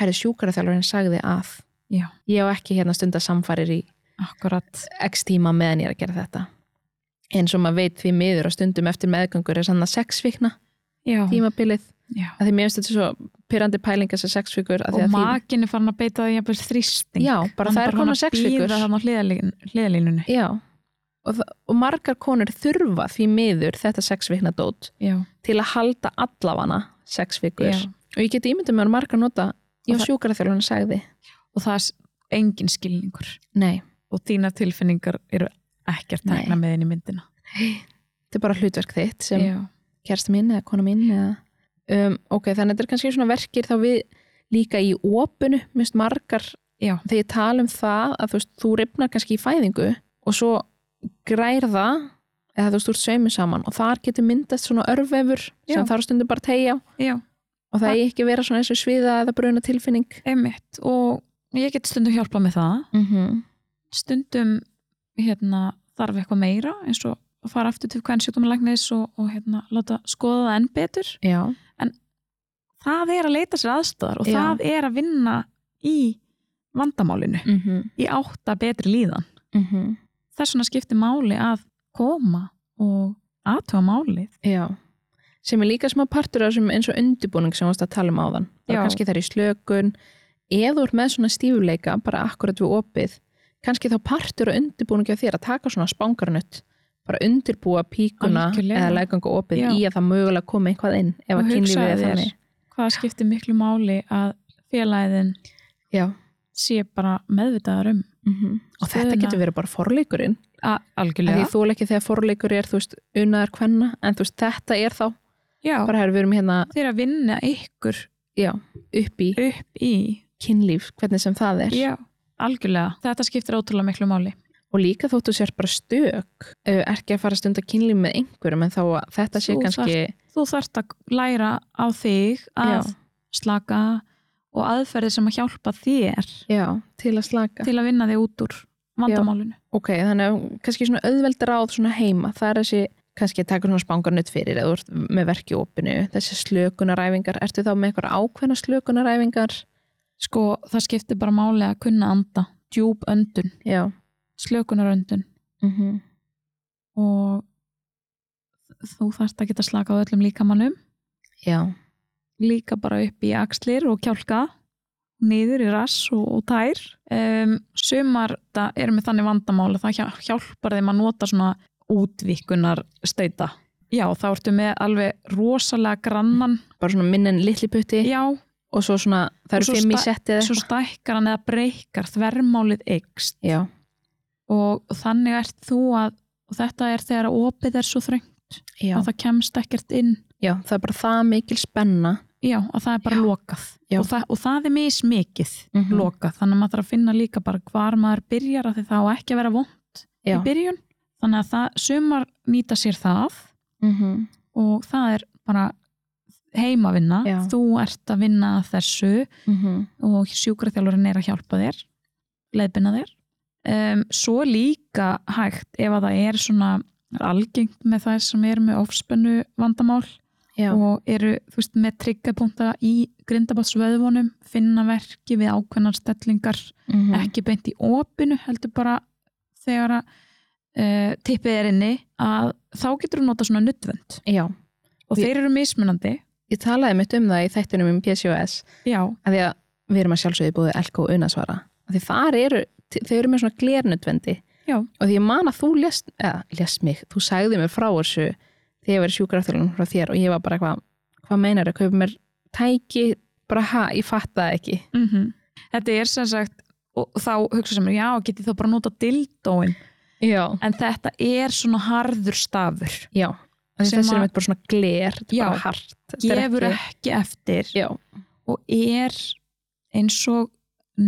[SPEAKER 1] herri sjúkaraþjálfurinn sagði að
[SPEAKER 2] Já.
[SPEAKER 1] ég á ekki hérna stunda samfarir í
[SPEAKER 2] akkurat
[SPEAKER 1] x tíma meðan ég er að gera þetta eins og maður veit því miður að stundum eftir meðgöngur er sann að sex vikna
[SPEAKER 2] já,
[SPEAKER 1] tímabilið,
[SPEAKER 2] já.
[SPEAKER 1] að því mér finnst þetta svo pyrrandi pælinga sem sex vikur að því
[SPEAKER 2] og
[SPEAKER 1] að því-
[SPEAKER 2] makin er farin að beita það jafnvel þrýsting
[SPEAKER 1] Já, bara það er komin að sex vikur.
[SPEAKER 2] býða þannig á hliðalín- hliðalínunni
[SPEAKER 1] já, og, það- og margar konur þurfa því miður þetta sex vikna dót
[SPEAKER 2] já.
[SPEAKER 1] til að halda allafana sex vikur
[SPEAKER 2] Já.
[SPEAKER 1] og ég get ímyndið mér að margar nota já,
[SPEAKER 2] Og það-
[SPEAKER 1] sjúkaraþjálfurinn sagði
[SPEAKER 2] og það er s- engin skilningur
[SPEAKER 1] nei,
[SPEAKER 2] og þína tilfinningar eru ekkert
[SPEAKER 1] Nei.
[SPEAKER 2] tegna með inn í myndina
[SPEAKER 1] þetta er bara hlutverk þitt sem
[SPEAKER 2] já,
[SPEAKER 1] kærasta mín eða kona mín eða, um, ok, þannig að þetta er kannski svona verkir þá við líka í opunu minnst margar,
[SPEAKER 2] já,
[SPEAKER 1] þegar ég tala um það að þú veist, þú ripnar kannski í fæðingu og svo grær það eða þú veist, þú ert saumið saman og þar getur myndast svona örvefur
[SPEAKER 2] Já.
[SPEAKER 1] sem þarf stundum bara að tegja á
[SPEAKER 2] já,
[SPEAKER 1] og það er ekki að vera svona eins og sviða eða bruna tilfinning
[SPEAKER 2] einmitt og ég get stundum hjálpað með það
[SPEAKER 1] mm
[SPEAKER 2] Mhm.
[SPEAKER 1] -hmm.
[SPEAKER 2] stundum hérna, þarf eitthvað meira eins og að fara aftur til hvern sjúkdómalæknis og, og hérna, láta skoða það enn betur
[SPEAKER 1] Já,
[SPEAKER 2] það er að leita sér aðstöðar og
[SPEAKER 1] Já.
[SPEAKER 2] það er að vinna í vandamálinu,
[SPEAKER 1] mm -hmm.
[SPEAKER 2] í átta betri líðan
[SPEAKER 1] Mhm.
[SPEAKER 2] þess vegna skiptir máli að koma og aðtöfa málið
[SPEAKER 1] Já, sem er líka smá partur af þessum eins og undirbúning sem varst að tala um áðan.
[SPEAKER 2] Já.
[SPEAKER 1] Bara kannski það er í slökun, ef þú ert með svona stífuleika, bara akkurat við opið, kannski þá partur af undirbúningi á þér að taka svona spangarnutt, bara undirbúa píkuna
[SPEAKER 2] Algjörlega.
[SPEAKER 1] eða legangu opið
[SPEAKER 2] Já.
[SPEAKER 1] í að það mögulega komi einhvað inn ef
[SPEAKER 2] Og
[SPEAKER 1] að kynlífið
[SPEAKER 2] hugsaðu
[SPEAKER 1] er
[SPEAKER 2] þér.
[SPEAKER 1] þannig.
[SPEAKER 2] hvað skiptir miklu máli að félagin
[SPEAKER 1] Já. Mhm.
[SPEAKER 2] sé bara meðvitaðar um
[SPEAKER 1] Og þetta
[SPEAKER 2] Stöðuna.
[SPEAKER 1] getur verið bara forleikurinn.
[SPEAKER 2] A
[SPEAKER 1] Af Því
[SPEAKER 2] algjörlega
[SPEAKER 1] þú ekki þegar forleikur er, þú veist, unnaðar kvenna, en þú veist, þetta er þá,
[SPEAKER 2] Já,
[SPEAKER 1] bara hér við erum hérna
[SPEAKER 2] þeir að vinna ykkur
[SPEAKER 1] upp í
[SPEAKER 2] upp í
[SPEAKER 1] kynlíf, hvernig sem það er.
[SPEAKER 2] Já, algjörlega, þetta skiptir ótrúlega miklu máli
[SPEAKER 1] og líka þóttu sér bara stök uh, er ekki að fara að stunda kynlíf með einhverjum en þá að þetta sé
[SPEAKER 2] Þú
[SPEAKER 1] kannski
[SPEAKER 2] þú þarft að læra á þig að
[SPEAKER 1] Já.
[SPEAKER 2] slaka og aðferðir sem að hjálpa þér
[SPEAKER 1] já, til að slaka
[SPEAKER 2] til að vinna þig út úr vandamálinu.
[SPEAKER 1] ok, þannig að kannski svona auðveld ráð svona heima, það er þessi kannski að taka svona spangarnutt fyrir eða þú ert með verki opinu, þessi slökunaræfingar ertu þá með einhverja ákveðna slökunaræfingar
[SPEAKER 2] Sko, það skiptir bara máli að kunna anda, djúb öndun,
[SPEAKER 1] já
[SPEAKER 2] slökunaröndun
[SPEAKER 1] mm
[SPEAKER 2] og þú þarft að geta slaka á öllum líkamannum,
[SPEAKER 1] já,
[SPEAKER 2] líka bara upp í axlir og kjálka, niður í rass og, og tær. Um, sumar það eru með þannig vandamál að það hjá- hjálpar þeim að nota svona útvíkunar stauta. Já, þá ertu með alveg rosalega grannan,
[SPEAKER 1] bara svona minn en litli putti
[SPEAKER 2] já,
[SPEAKER 1] og svo svona, það
[SPEAKER 2] Og
[SPEAKER 1] eru
[SPEAKER 2] svo
[SPEAKER 1] fimm í
[SPEAKER 2] sta-
[SPEAKER 1] setti eða
[SPEAKER 2] svo
[SPEAKER 1] eitthvað
[SPEAKER 2] stækkar hann eða breykar, þvermálið eikst
[SPEAKER 1] já,
[SPEAKER 2] og þannig ert þú að, og þetta er þegar að opið er svo þröngt
[SPEAKER 1] já,
[SPEAKER 2] að það kemst ekkert inn,
[SPEAKER 1] já, það er bara það mikil spenna
[SPEAKER 2] já, að það er bara
[SPEAKER 1] Já.
[SPEAKER 2] lokað
[SPEAKER 1] Já.
[SPEAKER 2] og það, og það er mismikið
[SPEAKER 1] Mhm.
[SPEAKER 2] lokað, þannig að maður þarf að finna líka bara hvar maður byrjar að því það á ekki að vera vond
[SPEAKER 1] já,
[SPEAKER 2] í byrjun, þannig að það, sumar nýta sér það
[SPEAKER 1] mm
[SPEAKER 2] og það er bara heimavinna,
[SPEAKER 1] Já.
[SPEAKER 2] þú ert að vinna að þessu
[SPEAKER 1] mhm,
[SPEAKER 2] og sjúkraþjálfurinn er að hjálpa þér leiðbina þér um, svo líka hægt ef að það er svona er algengt með þær sem eru með ofspennu vandamál
[SPEAKER 1] já,
[SPEAKER 2] og eru þú veist, með tryggapunkta í grindabátsvöðvunum finna verki við ákveðnar stellingar
[SPEAKER 1] mhm.
[SPEAKER 2] ekki beint í opinu heldur bara þegar að uh, tippið er inni að þá getur þú nota svona nutvönd
[SPEAKER 1] já
[SPEAKER 2] og
[SPEAKER 1] Við-
[SPEAKER 2] þeir eru mismunandi
[SPEAKER 1] Ég talaði mitt um það í þættunum um PCOS
[SPEAKER 2] já,
[SPEAKER 1] af því að við erum að sjálfsögðu búið LK og unasvara af því þar eru, þau eru með svona glernutvendi
[SPEAKER 2] Já.
[SPEAKER 1] og því ég man að þú lest, eða, lest mig, þú sagði mér frá þessu þegar ég verið sjúkrafþjálun frá þér og ég var bara hvað, hvað meinar að kaupa mér tæki, bara ha, ég fatt það ekki
[SPEAKER 2] mm þetta er sem sagt og þá hugsa sem er, já, geti þá bara nota dildóin
[SPEAKER 1] Já,
[SPEAKER 2] en þetta er svona harður stafur
[SPEAKER 1] já Af því
[SPEAKER 2] Sem
[SPEAKER 1] Þessi er
[SPEAKER 2] að-
[SPEAKER 1] mitt bara svona gler, þetta er
[SPEAKER 2] Já.
[SPEAKER 1] bara hart. Þetta er
[SPEAKER 2] gefur
[SPEAKER 1] ekki-
[SPEAKER 2] ekki eftir
[SPEAKER 1] Já,
[SPEAKER 2] og er eins og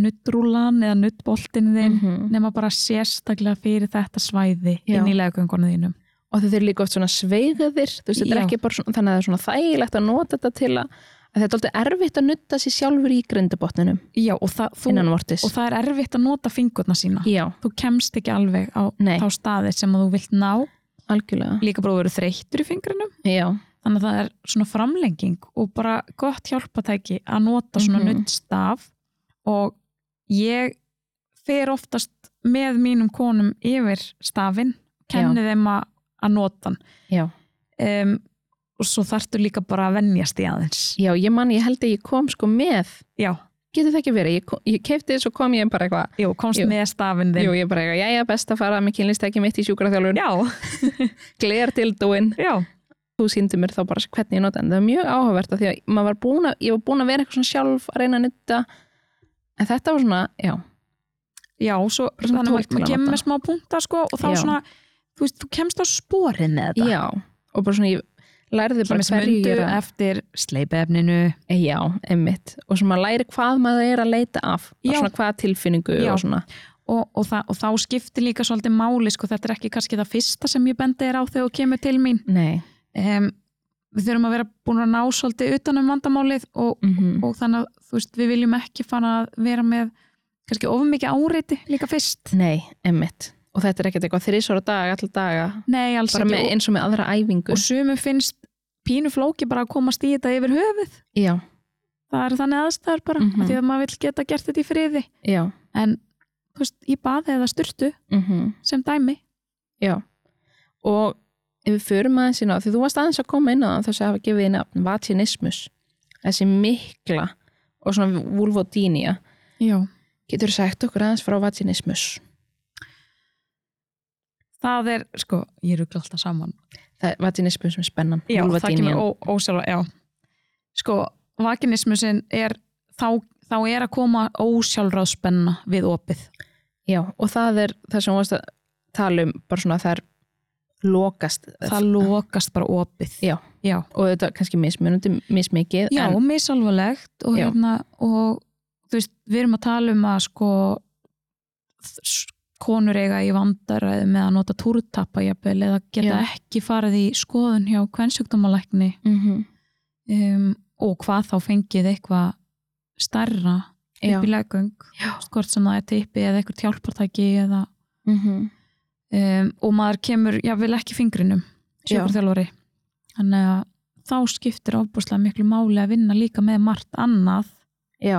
[SPEAKER 2] nuttrúlan eða nuttboltin þinn
[SPEAKER 1] Mhm.
[SPEAKER 2] nema bara sérstaklega fyrir þetta svæði
[SPEAKER 1] Já.
[SPEAKER 2] inn í legagöngunum þínum
[SPEAKER 1] og þetta er líka oft svona sveigaðir þú veist, þetta er
[SPEAKER 2] Já.
[SPEAKER 1] ekki bara svona, þannig að það er svona þægilegt að nota þetta til að, að þetta er alltaf erfitt að nutta sér sjálfur í grindabotninum
[SPEAKER 2] Já, og, það, þú,
[SPEAKER 1] innan vortis
[SPEAKER 2] og það er erfitt að nota fingurna sína
[SPEAKER 1] já,
[SPEAKER 2] þú kemst ekki alveg á
[SPEAKER 1] nei,
[SPEAKER 2] þá staði sem að þú vilt ná
[SPEAKER 1] algjörlega
[SPEAKER 2] líka bara að vera þreyttur í fingrinum
[SPEAKER 1] já,
[SPEAKER 2] þannig að það er svona framlenging og bara gott hjálpatæki að nota svona
[SPEAKER 1] Mhm.
[SPEAKER 2] nuttstaf og ég fer oftast með mínum konum yfir stafinn kenni þeim að, að nota
[SPEAKER 1] já,
[SPEAKER 2] hann um, og svo þarftu líka bara að venjast í aðeins
[SPEAKER 1] já, ég man, ég held að ég kom sko með
[SPEAKER 2] Já,
[SPEAKER 1] getur það ekki verið, ég, kom- ég kefti þess og kom ég bara eitthvað,
[SPEAKER 2] jú, komst
[SPEAKER 1] Jú.
[SPEAKER 2] með stafinn þinn
[SPEAKER 1] jú, ég bara eitthvað, jæja, best að fara með kynlistæki mitt í sjúkraþjálfun,
[SPEAKER 2] Já,
[SPEAKER 1] gler til dúin
[SPEAKER 2] já,
[SPEAKER 1] þú síndi mér þá bara hvernig ég nota en það er mjög áhugavert að því að maður var búin að ég var búin að vera eitthvað svona sjálf að reyna að nutta en þetta var svona, já,
[SPEAKER 2] já, svo
[SPEAKER 1] Bara svona
[SPEAKER 2] þannig að
[SPEAKER 1] tól til
[SPEAKER 2] maður
[SPEAKER 1] að
[SPEAKER 2] kemur
[SPEAKER 1] nota.
[SPEAKER 2] með smá punta sko og þá
[SPEAKER 1] Já.
[SPEAKER 2] svona, þú veist, þú kemst á sporin með þetta
[SPEAKER 1] Já, og bara svona ég læriði
[SPEAKER 2] sem
[SPEAKER 1] bara
[SPEAKER 2] er
[SPEAKER 1] hverju ég
[SPEAKER 2] mundu
[SPEAKER 1] er að Eh,
[SPEAKER 2] eftir sleipefninu
[SPEAKER 1] Já, einmitt, og svona læri hvað maður er að leita af og
[SPEAKER 2] Já.
[SPEAKER 1] svona hvaða tilfinningu
[SPEAKER 2] Já.
[SPEAKER 1] og svona
[SPEAKER 2] og, og, þa og þá skiptir líka svolítið máli sko, þetta er ekki kannski það fyrsta sem ég bendi er á þegar þú kemur til mín
[SPEAKER 1] Nei,
[SPEAKER 2] um, við þurfum að vera búin að ná svolítið utan um vandamálið og,
[SPEAKER 1] mm
[SPEAKER 2] og þannig að þú veist, við viljum ekki fara að vera með kannski ofur mikið áreiti líka fyrst
[SPEAKER 1] nei, einmitt og þetta er ekkert eitthvað þrísvara dag, allar daga
[SPEAKER 2] nei, alls
[SPEAKER 1] bara með,
[SPEAKER 2] ekki
[SPEAKER 1] eins og með aðra æfingu
[SPEAKER 2] og, og sumum finnst pínu flóki bara að komast í þetta yfir höfuð
[SPEAKER 1] Já,
[SPEAKER 2] það er þannig aðstæður bara mm
[SPEAKER 1] Mhm.
[SPEAKER 2] því að maður vill geta gert þetta í friði
[SPEAKER 1] já,
[SPEAKER 2] en þú veist, í baði eða styrtu
[SPEAKER 1] mhm
[SPEAKER 2] sem dæmi
[SPEAKER 1] já og ef við förum aðeins inn á því þú varst aðeins að koma inn á það þess að hafa gefið inn nafn vaginismus, þessi mikla og svona vulvodínia
[SPEAKER 2] já
[SPEAKER 1] getur sagt okkur aðeins frá vaginismus
[SPEAKER 2] það er, sko, ég rugla alltaf saman
[SPEAKER 1] það er vaginismus sem er spennan
[SPEAKER 2] Já, það
[SPEAKER 1] vulvodynian.
[SPEAKER 2] kemur ó, ósjálfa, já. Sko, vakinismusin er, þá, þá er að koma ósjálfráð spenna við opið.
[SPEAKER 1] Já, og það er það sem þú varst að tala um bara svona að það er lokast
[SPEAKER 2] Það lokast bara opið.
[SPEAKER 1] Já.
[SPEAKER 2] Já,
[SPEAKER 1] og þetta er kannski mismunandi mismikið
[SPEAKER 2] já
[SPEAKER 1] en,
[SPEAKER 2] en, misalvarlegt og
[SPEAKER 1] Já.
[SPEAKER 2] hérna, og þú veist, við erum að tala um að sko s- konur eiga í vandaræði með að nota túrtappa jafnvel eða geta
[SPEAKER 1] Já.
[SPEAKER 2] ekki farið í skoðun hjá kvensjúkdómalækni
[SPEAKER 1] mm
[SPEAKER 2] um, og hvað þá fengið eitthvað starra
[SPEAKER 1] já,
[SPEAKER 2] upp í legung
[SPEAKER 1] Já.
[SPEAKER 2] hvort sem það er tippi eða eitthvað hjálpartæki eða,
[SPEAKER 1] mm
[SPEAKER 2] um, og maður kemur, já, vil ekki fingrinum
[SPEAKER 1] Já.
[SPEAKER 2] sjökurþjálfari þannig að þá skiptir ofbúslega miklu máli að vinna líka með margt annað
[SPEAKER 1] já,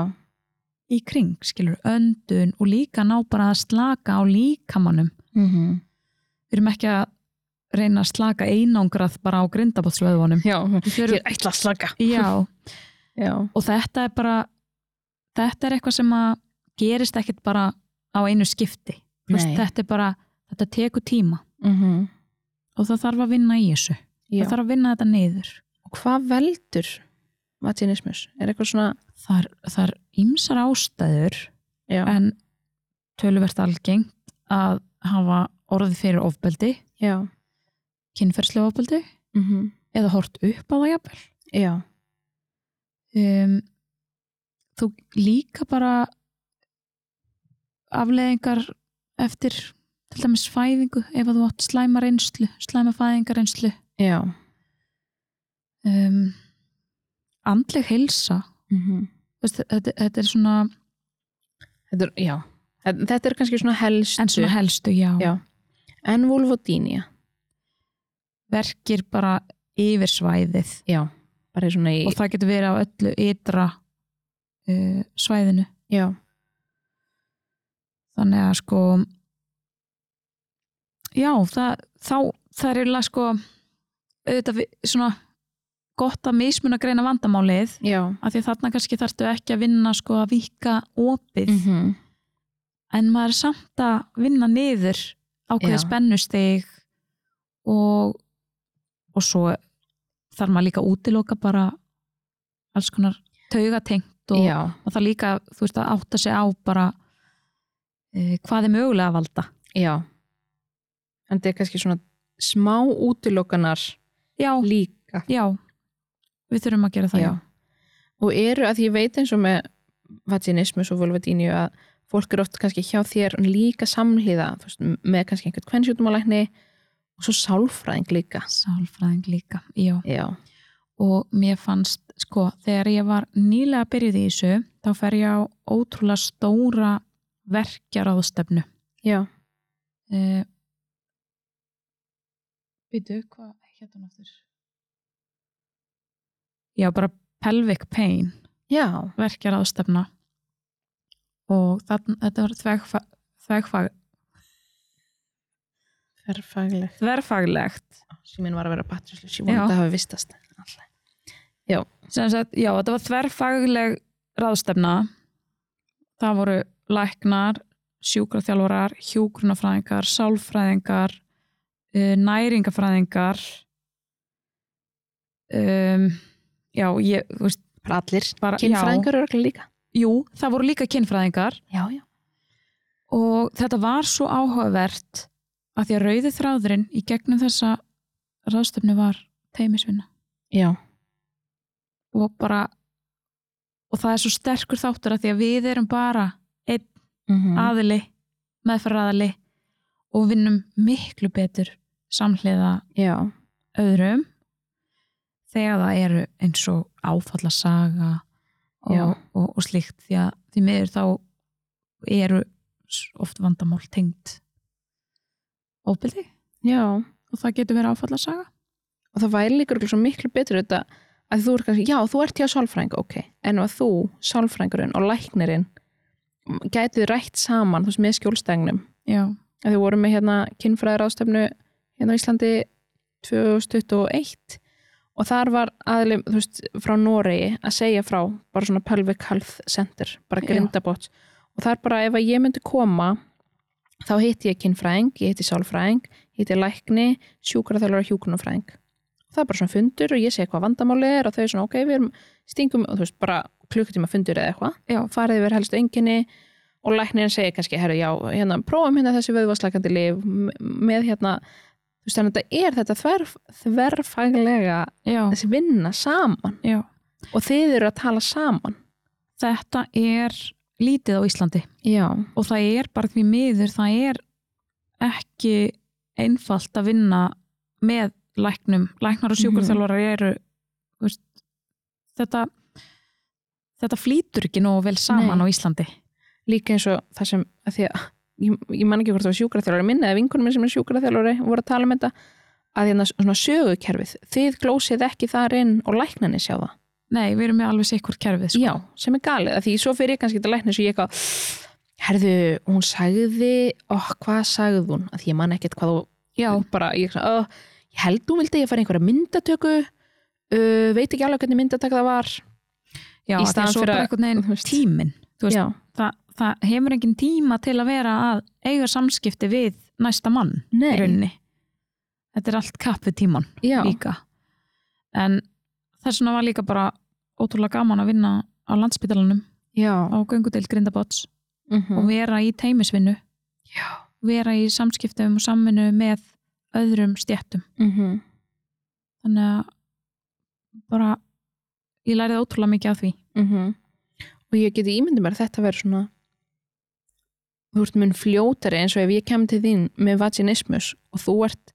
[SPEAKER 2] í kring, skilur öndun og líka ná bara að slaka á líkamannum
[SPEAKER 1] mm
[SPEAKER 2] við erum ekki að reyna að slaka einangrað bara á grindabótsvöðunum
[SPEAKER 1] já
[SPEAKER 2] já,
[SPEAKER 1] er ætla að slaka
[SPEAKER 2] og
[SPEAKER 1] já,
[SPEAKER 2] þetta er bara þetta er eitthvað sem að gerist ekkit bara á einu skipti Þú veist,
[SPEAKER 1] Nei.
[SPEAKER 2] þetta er bara, þetta tekur tíma
[SPEAKER 1] mm
[SPEAKER 2] og það þarf að vinna í þessu
[SPEAKER 1] já.
[SPEAKER 2] það þarf að vinna þetta niður
[SPEAKER 1] og hvað veldur vaginismus er eitthvað svona
[SPEAKER 2] það er, það er ýmsar ástæður
[SPEAKER 1] já,
[SPEAKER 2] en töluvert algengt að hafa orðið fyrir ofbeldi
[SPEAKER 1] já,
[SPEAKER 2] kynferðslu ofbeldi
[SPEAKER 1] mm
[SPEAKER 2] eða hort upp á það jafnvel
[SPEAKER 1] já,
[SPEAKER 2] um, þú líka bara afleðingar eftir til dæmis fæðingu ef að þú átt slæma reynslu slæma fæðingar reynslu
[SPEAKER 1] já
[SPEAKER 2] um, andleg heilsa
[SPEAKER 1] mm
[SPEAKER 2] Þú veist, þetta, þetta er svona
[SPEAKER 1] þetta, er, já. Þetta- þetta er kannski svona helstu
[SPEAKER 2] en svona helstu, já,
[SPEAKER 1] Já. en vulvodínia
[SPEAKER 2] verkir bara yfir svæðið
[SPEAKER 1] já, bara í svona í
[SPEAKER 2] og það getur verið á öllu ytra uh, svæðinu
[SPEAKER 1] já,
[SPEAKER 2] þannig að sko já, það, þá það er eiginlega sko auðvitað við- svona gott að mismuna greina vandamálið
[SPEAKER 1] já
[SPEAKER 2] af því að þarna kannski þarftu ekki að vinna sko að vika opið
[SPEAKER 1] -hmm.
[SPEAKER 2] en maður er samt að vinna niður ákveðið
[SPEAKER 1] Já.
[SPEAKER 2] spennustig og og svo þarf maður líka að útiloka bara alls konar taugatengt og
[SPEAKER 1] já,
[SPEAKER 2] og það líka, þú veist, að átta sig á bara e, hvað er mögulega að valda
[SPEAKER 1] já en þetta er kannski svona smá útilokanar
[SPEAKER 2] já,
[SPEAKER 1] líka
[SPEAKER 2] já við þurfum að gera það,
[SPEAKER 1] Já.
[SPEAKER 2] já,
[SPEAKER 1] og eru að ég veit eins og með vaginismus og vulvatínu að fólk er oft kannski hjá þér en líka samhliða þú veist, með kannski einhvern kvennsjútumalækni og svo sálfræðing líka
[SPEAKER 2] sálfræðing líka já,
[SPEAKER 1] já,
[SPEAKER 2] og mér fannst sko, þegar ég var nýlega byrjuð í þessu, þá fer ég á ótrúlega stóra verkjaráðstefnu
[SPEAKER 1] já,
[SPEAKER 2] uh, Býtu, hvað hétt hann aftur? Já, bara pelvic pain
[SPEAKER 1] já,
[SPEAKER 2] verkjaráðstefna og þann, þetta var þvegfa, þvegfag,
[SPEAKER 1] verðfagleg
[SPEAKER 2] þverfaglegt
[SPEAKER 1] síminn var að vera batterislis, ég
[SPEAKER 2] Já.
[SPEAKER 1] vona að það hafi vistast alltaf,
[SPEAKER 2] sem sagt, já, þetta var þverfagleg ráðstefna það voru læknar sjúkraþjálfarar, hjúgrunafræðingar sálfræðingar eh, næringafræðingar um, já, ég, þú veist
[SPEAKER 1] bara allir
[SPEAKER 2] bara,
[SPEAKER 1] kynfræðingar eru örugglega líka
[SPEAKER 2] já, jú, það voru líka kynfræðingar
[SPEAKER 1] já, já,
[SPEAKER 2] og þetta var svo áhugavert að því að rauði þráðurinn í gegnum þessa ráðstefnu var teimisvinna
[SPEAKER 1] já,
[SPEAKER 2] og bara og það er svo sterkur þáttur að því að við erum bara
[SPEAKER 1] mhm,
[SPEAKER 2] aðili, meðferðaðili og vinnum miklu betur samhliða
[SPEAKER 1] já,
[SPEAKER 2] öðrum þegar það eru eins og áfallasaga
[SPEAKER 1] Já.
[SPEAKER 2] og, og, og slíkt því að því miður þá eru s- oft vandamál tengd ofbeldi
[SPEAKER 1] já
[SPEAKER 2] og það getur verið áfallasaga
[SPEAKER 1] og það væri líka örugglega svo miklu betur þetta að þú ert kannski, já, þú ert hjá sálfræðing ok, en að þú, sálfræðingurinn og læknirinn gætið rætt saman, þú veist, með skjólstægnum
[SPEAKER 2] Já,
[SPEAKER 1] að þið vorum með hérna kynfræðir ástefnu hérna á Íslandi 2021 og þar var aðlum, þú veist, frá Noregi að segja frá, bara svona pelvic health center, bara
[SPEAKER 2] Já.
[SPEAKER 1] grindabot og þar bara ef að ég myndi koma þá hitti ég kynfræðing, ég hitti sálfræðing, ég hitti lækni sjúkraþjálfur og hjúkunarfræðing það er bara svona fundur og ég segi hvað vandamáli er og þau er svona, ok, við erum stingum og þú veist, bara klukkutíma fundur eða eitthvað
[SPEAKER 2] já,
[SPEAKER 1] farið yfir helstu enginni og læknirinn segir kannski, herru, já, hérna, prófum hérna þessi vöðvaslakandi lif m- með hérna, þú veist, þannig að þetta er þetta þverf, þverfaglega
[SPEAKER 2] já,
[SPEAKER 1] þessi vinna saman
[SPEAKER 2] já
[SPEAKER 1] og þið eru að tala saman.
[SPEAKER 2] Þetta er lítið á Íslandi
[SPEAKER 1] Já,
[SPEAKER 2] og það er bara því miður, það er ekki einfalt að vinna með læknum. Læknar og
[SPEAKER 1] Mhm.
[SPEAKER 2] sjúkurþjálfarar eru, þú veist, þetta, þetta flýtur ekki nógu vel saman
[SPEAKER 1] Nei.
[SPEAKER 2] á Íslandi.
[SPEAKER 1] líka eins og það sem, að því að ég, ég man ekki hvort það var sjúkraþjálfari minn eða vinkunum minn sem er sjúkraþjálfari voru að tala um þetta að hérna svona sögukerfið, þið glósið ekki þar inn og læknarnir sjá það.
[SPEAKER 2] Nei, við erum með alveg sikkur kerfið, sko.
[SPEAKER 1] Já, sem er galið, að því svo fyrir ég kannski til læknir svo ég eitthvað, herðu, hún sagði, oh, hvað sagði hún? Að því ég man ekkert hvað þú,
[SPEAKER 2] Já,
[SPEAKER 1] bara, ég, svona, oh, ég held hún vildi að ég fara í einhverja myndatöku, uh, veit ekki alveg hvernig myndataka það var. Í
[SPEAKER 2] já að það
[SPEAKER 1] staðan
[SPEAKER 2] er svo
[SPEAKER 1] fyrir
[SPEAKER 2] bara
[SPEAKER 1] að-
[SPEAKER 2] einhvern
[SPEAKER 1] þú
[SPEAKER 2] veginn
[SPEAKER 1] veist.
[SPEAKER 2] tíminn. Þú veist,
[SPEAKER 1] Já,
[SPEAKER 2] það, það hefur engin tíma til að vera að eiga samskipti við næsta mann í
[SPEAKER 1] nei,
[SPEAKER 2] rauninni. Þetta er allt kapp við tíman.
[SPEAKER 1] já,
[SPEAKER 2] líka en þess vegna var líka bara ótrúlega gaman að vinna á landsbytalanum
[SPEAKER 1] já,
[SPEAKER 2] á göngudeild grindabots og
[SPEAKER 1] mhm,
[SPEAKER 2] vera í teimisvinnu
[SPEAKER 1] já,
[SPEAKER 2] vera í samskiptum og samvinnu með öðrum stjættum
[SPEAKER 1] mhm,
[SPEAKER 2] þannig að bara ég læriði ótrúlega mikið af því
[SPEAKER 1] mhm. Og ég geti ímyndið mér að þetta verður svona, þú ert mun fljótari eins og ef ég kem til þín með vaginismus og þú ert,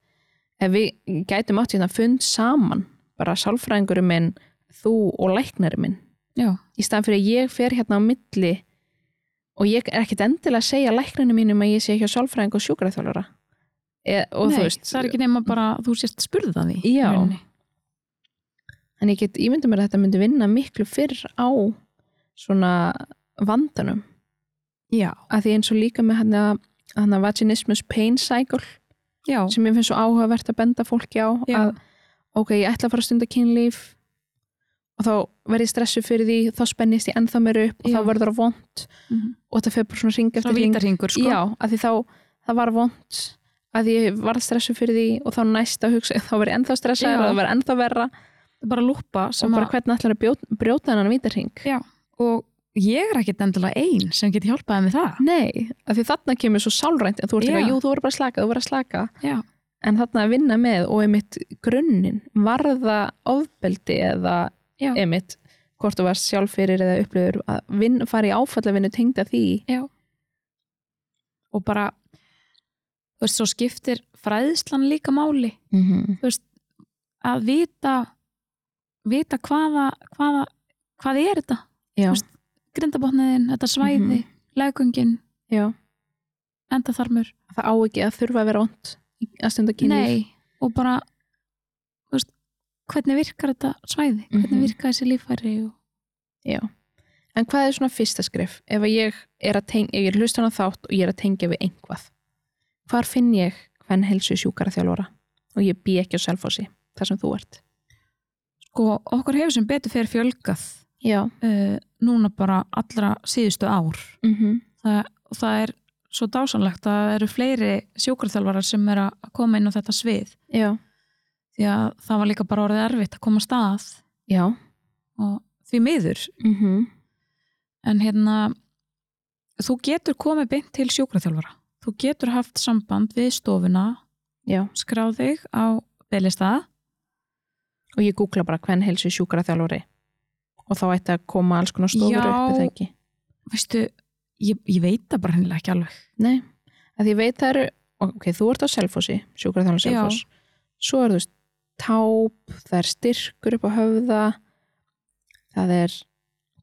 [SPEAKER 1] ef við gætum átt hérna fund saman, bara sálfræðingurinn minn, þú og læknarinn minn,
[SPEAKER 2] já,
[SPEAKER 1] í staðan fyrir að ég fer hérna á milli og ég er ekkert endilega að segja lækninu mínum að ég sé hjá sálfræðing og sjúkraþjálfara e, og
[SPEAKER 2] Nei,
[SPEAKER 1] þú veist
[SPEAKER 2] það er ekki nema bara að þú sést spurðið að því í
[SPEAKER 1] Já.
[SPEAKER 2] rauninni.
[SPEAKER 1] en ég get ímyndið mér að þetta myndi vinna miklu fyrr á svona vandanum
[SPEAKER 2] já,
[SPEAKER 1] að því eins og líka með hann að hann að vaginismus pain cycle
[SPEAKER 2] já,
[SPEAKER 1] sem ég finnst svo áhugavert að benda fólki á
[SPEAKER 2] Já.
[SPEAKER 1] að ok, ég ætla að fara að stunda kynlíf og þá verð ég stressu fyrir því þá spennist ég ennþá mér upp og
[SPEAKER 2] Já.
[SPEAKER 1] þá verður það vond
[SPEAKER 2] Mhm.
[SPEAKER 1] og þetta fer bara svona ringa
[SPEAKER 2] svona
[SPEAKER 1] eftir ring
[SPEAKER 2] vítarhingur sko
[SPEAKER 1] Já, af því þá, það var vond að ég varð stressu fyrir því og þá næst að hugsa, þá var ég ennþá stressaður
[SPEAKER 2] Já.
[SPEAKER 1] og það var ennþá verra
[SPEAKER 2] bara lúpa
[SPEAKER 1] og
[SPEAKER 2] sem
[SPEAKER 1] bara
[SPEAKER 2] að
[SPEAKER 1] hvernig ætlar að brjóta, brjóta hennan vítarhing.
[SPEAKER 2] Já. og ég er ekkit endilega ein sem geti hjálpaði með það
[SPEAKER 1] Nei, af því þarna kemur svo sálrænt að þú ert
[SPEAKER 2] Já.
[SPEAKER 1] eitthvað, jú, þú voru bara að slaka, þú voru að slaka
[SPEAKER 2] Já.
[SPEAKER 1] en þarna að vinna með og einmitt grunnin, varða ofbeldi eða
[SPEAKER 2] Já.
[SPEAKER 1] einmitt hvort þú varst sjálf fyrir eða upplöður að vin, fara í áfallafinu tengda því
[SPEAKER 2] og bara þú veist, svo skiptir fræðslan líka máli
[SPEAKER 1] mm
[SPEAKER 2] Mhm.
[SPEAKER 1] -hmm.
[SPEAKER 2] að vita vita hvaða, hvaða hvað er þetta,
[SPEAKER 1] já,
[SPEAKER 2] Þú veist, grindabotniðin, þetta svæði mm
[SPEAKER 1] Mhm.
[SPEAKER 2] legungin,
[SPEAKER 1] já,
[SPEAKER 2] endaþarmur
[SPEAKER 1] það á ekki að þurfa að vera ont að stunda kynlíf
[SPEAKER 2] Nei, og bara þú veist, hvernig virkar þetta svæði,
[SPEAKER 1] Mhm.
[SPEAKER 2] hvernig virkar þessi líffæri og
[SPEAKER 1] já. en hvað er svona fyrsta skrif ef að ég er að tengja, ef ég hlust hana þátt og ég er að tengja við einhvað hvar finn ég hvern helsu sjúkara þjálfara og ég bý ekki á selfósi þar sem þú ert
[SPEAKER 2] sko, okkur hefur sem betur fyrir fjölgað
[SPEAKER 1] já,
[SPEAKER 2] uh, núna bara allra síðustu ár
[SPEAKER 1] mm -hmm.
[SPEAKER 2] það, og það er svo dásanlegt að það eru fleiri sjókarþjálfarar sem er að koma inn á þetta svið
[SPEAKER 1] já,
[SPEAKER 2] því að það var líka bara orðið erfitt að koma af stað
[SPEAKER 1] já
[SPEAKER 2] og því miður
[SPEAKER 1] mm
[SPEAKER 2] en hérna þú getur komið beint til sjókarþjálfara þú getur haft samband við stofuna
[SPEAKER 1] já
[SPEAKER 2] skráð þig á beilista
[SPEAKER 1] og ég googla bara hvern helsu sjúkara þjálfari og þá ætti að koma alls konar stofur
[SPEAKER 2] Já.
[SPEAKER 1] upp er það ekki
[SPEAKER 2] veistu, ég, ég veit það bara hennilega ekki alveg
[SPEAKER 1] Nei, að ég veit það eru ok, þú ert á Selfossi, sjúkraþjóðan
[SPEAKER 2] Já.
[SPEAKER 1] Selfoss svo er þú veist táp, það er styrkur upp á höfða það er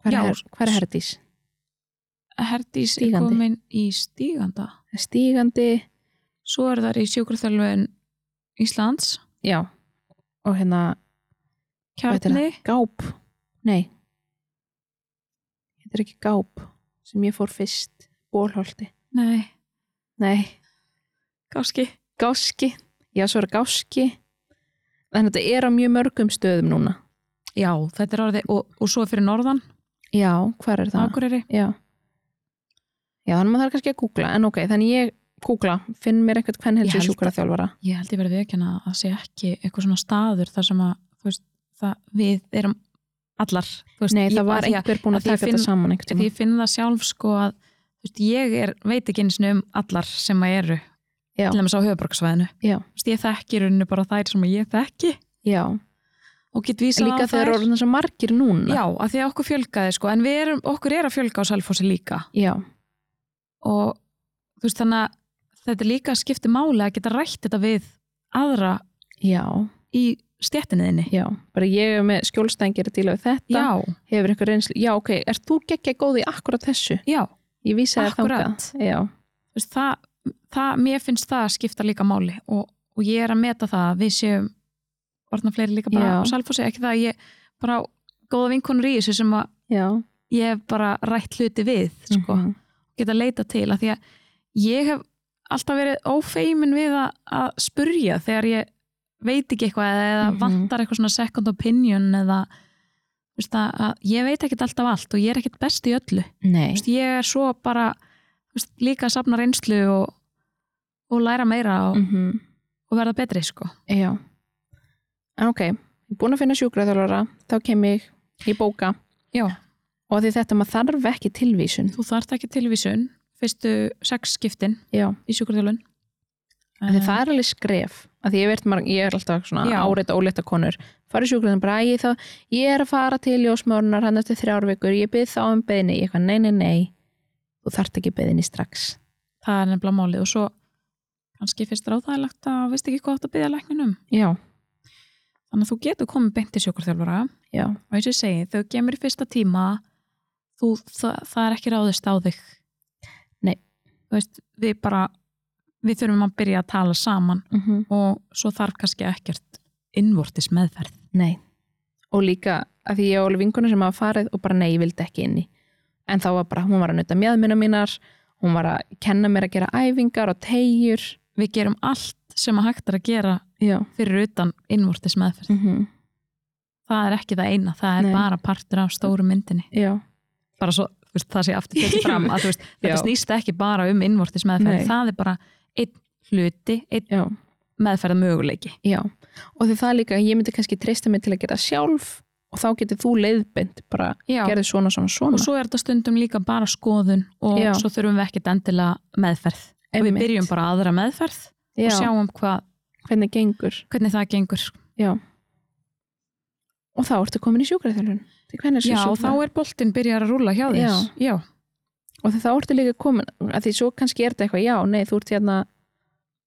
[SPEAKER 1] hver,
[SPEAKER 2] Já.
[SPEAKER 1] er, hver er herdís?
[SPEAKER 2] Herdís er
[SPEAKER 1] Stígandi.
[SPEAKER 2] komin í stíganda
[SPEAKER 1] Það er Stígandi,
[SPEAKER 2] svo er það í sjókarþjálfun Íslands
[SPEAKER 1] já og hérna, hvað heitir
[SPEAKER 2] kjarni,
[SPEAKER 1] það? Gáp Nei Þetta er ekki Gáp sem ég fór fyrst, Bólholti
[SPEAKER 2] nei,
[SPEAKER 1] Nei,
[SPEAKER 2] gáski
[SPEAKER 1] Gáski Já, svo er Gáski Þannig að þetta er á mjög mörgum stöðum núna
[SPEAKER 2] Já, þetta er orðið og, og svo fyrir norðan,
[SPEAKER 1] Já, hvar er það?
[SPEAKER 2] Akureyri
[SPEAKER 1] Já. Já, þannig að maður þarf kannski að googla, en ok, þannig ég googla, finn mér eitthvað hvern
[SPEAKER 2] Ég
[SPEAKER 1] helsi
[SPEAKER 2] held að-
[SPEAKER 1] sjúkara þjálfara.
[SPEAKER 2] Ég held ég verði ekki að það sé ekki eitthvað svona staður þar sem að þú veist, það, við erum allar þú veist,
[SPEAKER 1] Nei,
[SPEAKER 2] ég,
[SPEAKER 1] það var
[SPEAKER 2] af því að-
[SPEAKER 1] einhver búin
[SPEAKER 2] að
[SPEAKER 1] að
[SPEAKER 2] því ég
[SPEAKER 1] taka þetta
[SPEAKER 2] finn-
[SPEAKER 1] saman einhvern
[SPEAKER 2] af Því
[SPEAKER 1] tíma.
[SPEAKER 2] ég finn það sjálf sko að þú veist, ég er, veit ekki eins og um allar sem að eru
[SPEAKER 1] Já.
[SPEAKER 2] til þess á höfuborgsvæðinu
[SPEAKER 1] Já.
[SPEAKER 2] Þú veist, Ég þekki í rauninni bara þær sem ég þekki
[SPEAKER 1] Já,
[SPEAKER 2] og get vísað
[SPEAKER 1] líka
[SPEAKER 2] á
[SPEAKER 1] þegar
[SPEAKER 2] þær
[SPEAKER 1] orðin þess að margir núna.
[SPEAKER 2] Já, að því að okkur fjölgaði sko en við erum, okkur er að fjölga á Salfossi líka
[SPEAKER 1] Já,
[SPEAKER 2] og þú veist þannig að þetta líka skipti máli að geta rætt þetta við aðra
[SPEAKER 1] já,
[SPEAKER 2] í stjættinniðinni
[SPEAKER 1] já. Bara ég er með skjólstængir að díla við þetta.
[SPEAKER 2] Já,
[SPEAKER 1] Hefur einhver reynslu, já, ok, er þú geggja góð í akkurat þessu?
[SPEAKER 2] já,
[SPEAKER 1] Ég vísa þér
[SPEAKER 2] Akkúrat.
[SPEAKER 1] þangað. Já,
[SPEAKER 2] þú veist, það, það, mér finnst það að skipta líka máli og, og ég er að meta það að við séum orðna fleiri líka bara
[SPEAKER 1] Já.
[SPEAKER 2] á Salfossi, ekki það að ég bara á góða vinkonur í þessu sem að
[SPEAKER 1] já.
[SPEAKER 2] ég hef bara rætt hluti við, sko,
[SPEAKER 1] Mhm.
[SPEAKER 2] geta leita til að því að ég hef alltaf verið ófeimin við að, að spurja þegar ég veit ekki eitthvað eða, eða
[SPEAKER 1] Mhm.
[SPEAKER 2] vantar eitthvað svona second opinion eða þú veist, að, að ég veit ekkert alltaf allt og ég er ekkert best í öllu
[SPEAKER 1] Nei,
[SPEAKER 2] Þú veist, ég er svo bara þú veist, líka að safna reynslu og, og læra meira og,
[SPEAKER 1] mhm.
[SPEAKER 2] og verða betri sko
[SPEAKER 1] já. En ok, ég er búin að finna sjúkara þá kem ég í bóka.
[SPEAKER 2] Já,
[SPEAKER 1] Og af því þetta maður þarf ekki tilvísun.
[SPEAKER 2] þú þarft ekki tilvísun fyrstu sex skiptin
[SPEAKER 1] Já,
[SPEAKER 2] í Eh, sjúkurþjálun
[SPEAKER 1] af því það er alveg skref af því ég, veit, marg- ég er alltaf svona
[SPEAKER 2] Já.
[SPEAKER 1] áreita óleita konur farið sjúkurinn bara æ, þá, ég er að fara til ljósmörnar hann eftir þrjár vikur, ég byrð þá um beðinni ég eitthvað, nei, nei, nei, þú þart ekki beðinni strax
[SPEAKER 2] það er nefnilega málið og svo kannski finnst þér áþægilegt að þú veist ekki hvað átt að byggja lækninum
[SPEAKER 1] já,
[SPEAKER 2] þannig að þú getur komið beint til sjókurþjálfara
[SPEAKER 1] já,
[SPEAKER 2] og eins og ég segi, þau gemur í fyrsta tíma þú, það, það er ekki ráðist á þig
[SPEAKER 1] Nei.
[SPEAKER 2] þú veist, við bara við þurfum að byrja að tala saman
[SPEAKER 1] mm
[SPEAKER 2] og svo þarf kannski ekkert innvortis meðferð
[SPEAKER 1] nei og líka af því ég á alveg vinkunum sem hafa farið og bara nei, ég vildi ekki inni en þá var bara, hún var að nuta mjöðmina mínar hún var að kenna mér að gera æfingar og tegjur
[SPEAKER 2] við gerum allt sem að hægt er að gera
[SPEAKER 1] já,
[SPEAKER 2] fyrir utan innvortis meðferð
[SPEAKER 1] mm
[SPEAKER 2] það er ekki það eina, það er
[SPEAKER 1] Nei.
[SPEAKER 2] bara partur af stóru myndinni
[SPEAKER 1] já,
[SPEAKER 2] bara svo, þú veist, það sé aftur tekið fram að þú veist, þetta
[SPEAKER 1] Já.
[SPEAKER 2] snýst ekki bara um innvortis meðferð,
[SPEAKER 1] Nei.
[SPEAKER 2] það er bara einn hluti, einn
[SPEAKER 1] já
[SPEAKER 2] meðferða möguleiki
[SPEAKER 1] Já, og því það líka, ég myndi kannski treysta mig til að gera sjálf og þá getur þú leiðbind, bara
[SPEAKER 2] Já.
[SPEAKER 1] gerðu svona, svona, svona.
[SPEAKER 2] og svo er þetta stundum líka bara skoðun og
[SPEAKER 1] Já.
[SPEAKER 2] svo þurfum við ekkit endilega meðferð og við
[SPEAKER 1] Einmitt.
[SPEAKER 2] byrjum bara aðra meðferð
[SPEAKER 1] Já,
[SPEAKER 2] og sjáum hvað
[SPEAKER 1] hvernig gengur
[SPEAKER 2] hvernig það gengur
[SPEAKER 1] já. og þá ertu komin í sjúkraþjálfun til hvernig
[SPEAKER 2] já, og þá er boltinn byrjar að rúla hjá þess já,
[SPEAKER 1] og þá ertu líka komin að því svo kannski er þetta eitthvað, já, nei, þú ert hérna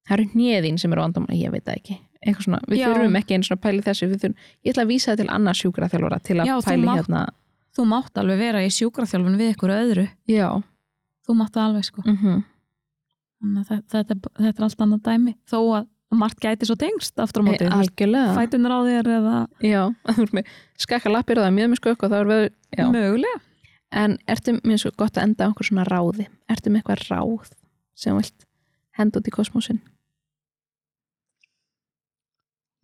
[SPEAKER 1] það eru nýðin sem eru vandamál ég veit það ekki, eitthvað svona, við
[SPEAKER 2] Já.
[SPEAKER 1] þurfum ekki einu svona að pæli þessu, við þurfum, ég ætla að vísa það til annars sjúkraþjálfara til að
[SPEAKER 2] Já, þú
[SPEAKER 1] pæli
[SPEAKER 2] mátt-
[SPEAKER 1] hérna
[SPEAKER 2] þú mátt alveg vera í sjúkraþjálfun við ykkur öðru
[SPEAKER 1] já,
[SPEAKER 2] þú mátt það alveg sko
[SPEAKER 1] mm
[SPEAKER 2] Þannig að þetta, þetta, þetta er allt annað dæmi þó að margt gæti svo tengst aftur á móti e,
[SPEAKER 1] Eh, algjörlega
[SPEAKER 2] fætunar á þér eða
[SPEAKER 1] já, þú erum með skakka lappir og það er mjög með skökk og þá er við já.
[SPEAKER 2] mögulega
[SPEAKER 1] en ertu mjög svo gott að enda á einhver svona ráði ertu með eitthvað ráð sem þú vilt henda út í kosmósin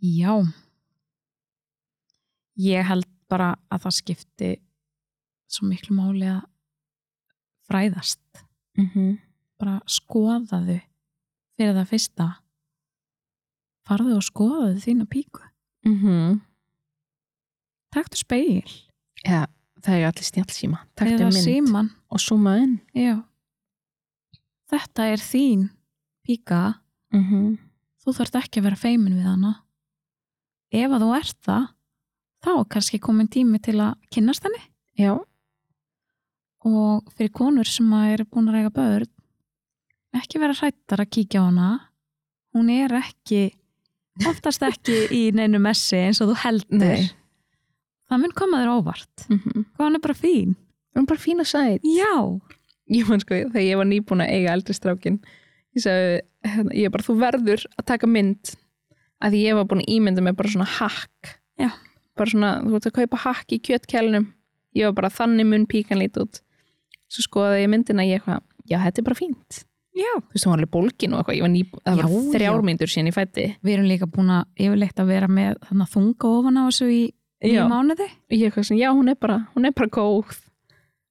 [SPEAKER 2] já ég held bara að það skipti svo miklu máli að fræðast
[SPEAKER 1] mm -hmm.
[SPEAKER 2] Mhm. bara skoðaðu fyrir það fyrsta farðu og skoðaðu þína píku
[SPEAKER 1] Mm -hmm.
[SPEAKER 2] taktu speil
[SPEAKER 1] já, það er allir snjálfsíma taktu
[SPEAKER 2] eða
[SPEAKER 1] mynd
[SPEAKER 2] síman
[SPEAKER 1] og súma inn
[SPEAKER 2] já. þetta er þín píka
[SPEAKER 1] mm
[SPEAKER 2] Mhm.
[SPEAKER 1] -hmm.
[SPEAKER 2] þú þarft ekki að vera feimin við hana ef að þú ert það þá er kannski komin tími til að kynnast henni
[SPEAKER 1] já,
[SPEAKER 2] og fyrir konur sem að eru búin að reyga börn ekki vera hrættar að kíkja á hana hún er ekki oftast ekki í neinu messi eins og þú heldur
[SPEAKER 1] Nei.
[SPEAKER 2] það mun koma þér óvart
[SPEAKER 1] mm -hmm.
[SPEAKER 2] hvað hann er bara fín
[SPEAKER 1] hún er bara fín og sæt
[SPEAKER 2] Mhm. já,
[SPEAKER 1] ég man sko, þegar ég var nýbúin að eiga eldri strákin ég sagði, hérna, ég bara, þú verður að taka mynd að því ég var búin að ímynda mig bara svona hakk
[SPEAKER 2] Já.
[SPEAKER 1] bara svona, þú veist að kaupa hakk í kjötkelnum ég var bara, þannig mun píkan lít út svo skoðaði ég myndina ég eitthvað, já, þetta er bara fínt
[SPEAKER 2] já
[SPEAKER 1] þú veist, hún var alveg bólgin og eitthvað, ég var nýbúin það var
[SPEAKER 2] Já, já.
[SPEAKER 1] þrjármyndur síðan ég fætti
[SPEAKER 2] við erum líka búin að yfirleitt að vera með þarna þunga ofan á þessu í nýju
[SPEAKER 1] Já.
[SPEAKER 2] mánuði
[SPEAKER 1] og ég eitthvað svona, já, hún er bara, hún er bara góð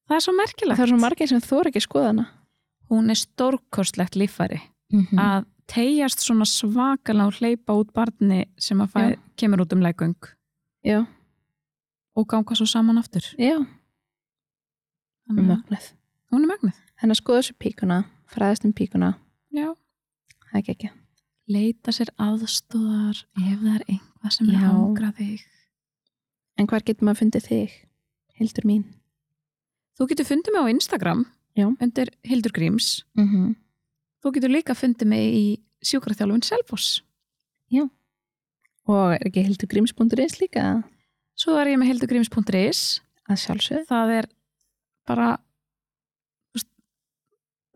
[SPEAKER 2] það er svo merkilegt
[SPEAKER 1] það er svo margir sem þóra ekki að skoða hana
[SPEAKER 2] hún er stórkostlegt líffæri
[SPEAKER 1] mm
[SPEAKER 2] að tegjast svona svakalega og hleypa út barni sem að fæ,
[SPEAKER 1] Já.
[SPEAKER 2] kemur út um legung
[SPEAKER 1] já,
[SPEAKER 2] og ganga svo saman aftur
[SPEAKER 1] já, Um
[SPEAKER 2] Þannig að
[SPEAKER 1] mögnuð
[SPEAKER 2] hún er magnuð
[SPEAKER 1] hennar skoða þessu píkuna, fræðast um píkuna
[SPEAKER 2] Já.
[SPEAKER 1] það er ekki ekki
[SPEAKER 2] leita sér aðstóðar ef það er einhvað sem
[SPEAKER 1] Já.
[SPEAKER 2] er ángra þig
[SPEAKER 1] En hvar getur maður fundið þig? Hildur mín.
[SPEAKER 2] þú getur fundið mig á Instagram
[SPEAKER 1] Já.
[SPEAKER 2] undir Hildur Gríms
[SPEAKER 1] Mm -hmm.
[SPEAKER 2] þú getur líka fundið mig í sjúkraþjálfun Selfoss
[SPEAKER 1] Og er ekki hildurgríms.is líka
[SPEAKER 2] svo er ég með hildurgríms.is
[SPEAKER 1] að sjálfsögð?
[SPEAKER 2] það er bara þú veist,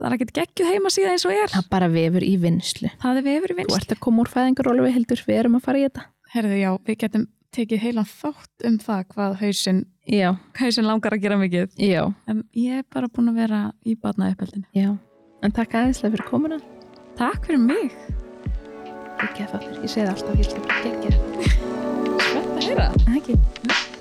[SPEAKER 2] það er ekkert geggjuð heima síðan eins og er
[SPEAKER 1] Það bara vefur í vinslu.
[SPEAKER 2] það er við yfir í
[SPEAKER 1] Þú
[SPEAKER 2] vinst
[SPEAKER 1] ert að koma úr fæðingarólu við Hildur, við erum að fara í þetta.
[SPEAKER 2] Herðu, já, við getum tekið heilan þátt um það hvað hausinn,
[SPEAKER 1] Já,
[SPEAKER 2] hausinn langar að gera mikið.
[SPEAKER 1] já,
[SPEAKER 2] En ég er bara búin að vera í batna uppeldinu.
[SPEAKER 1] já. En takk aðeinslega fyrir komuna.
[SPEAKER 2] Takk fyrir mig.
[SPEAKER 1] Ekki að þáttur, ég segi það alltaf, Hildur, ekki ekki.
[SPEAKER 2] Svett að heyra.
[SPEAKER 1] Ekki.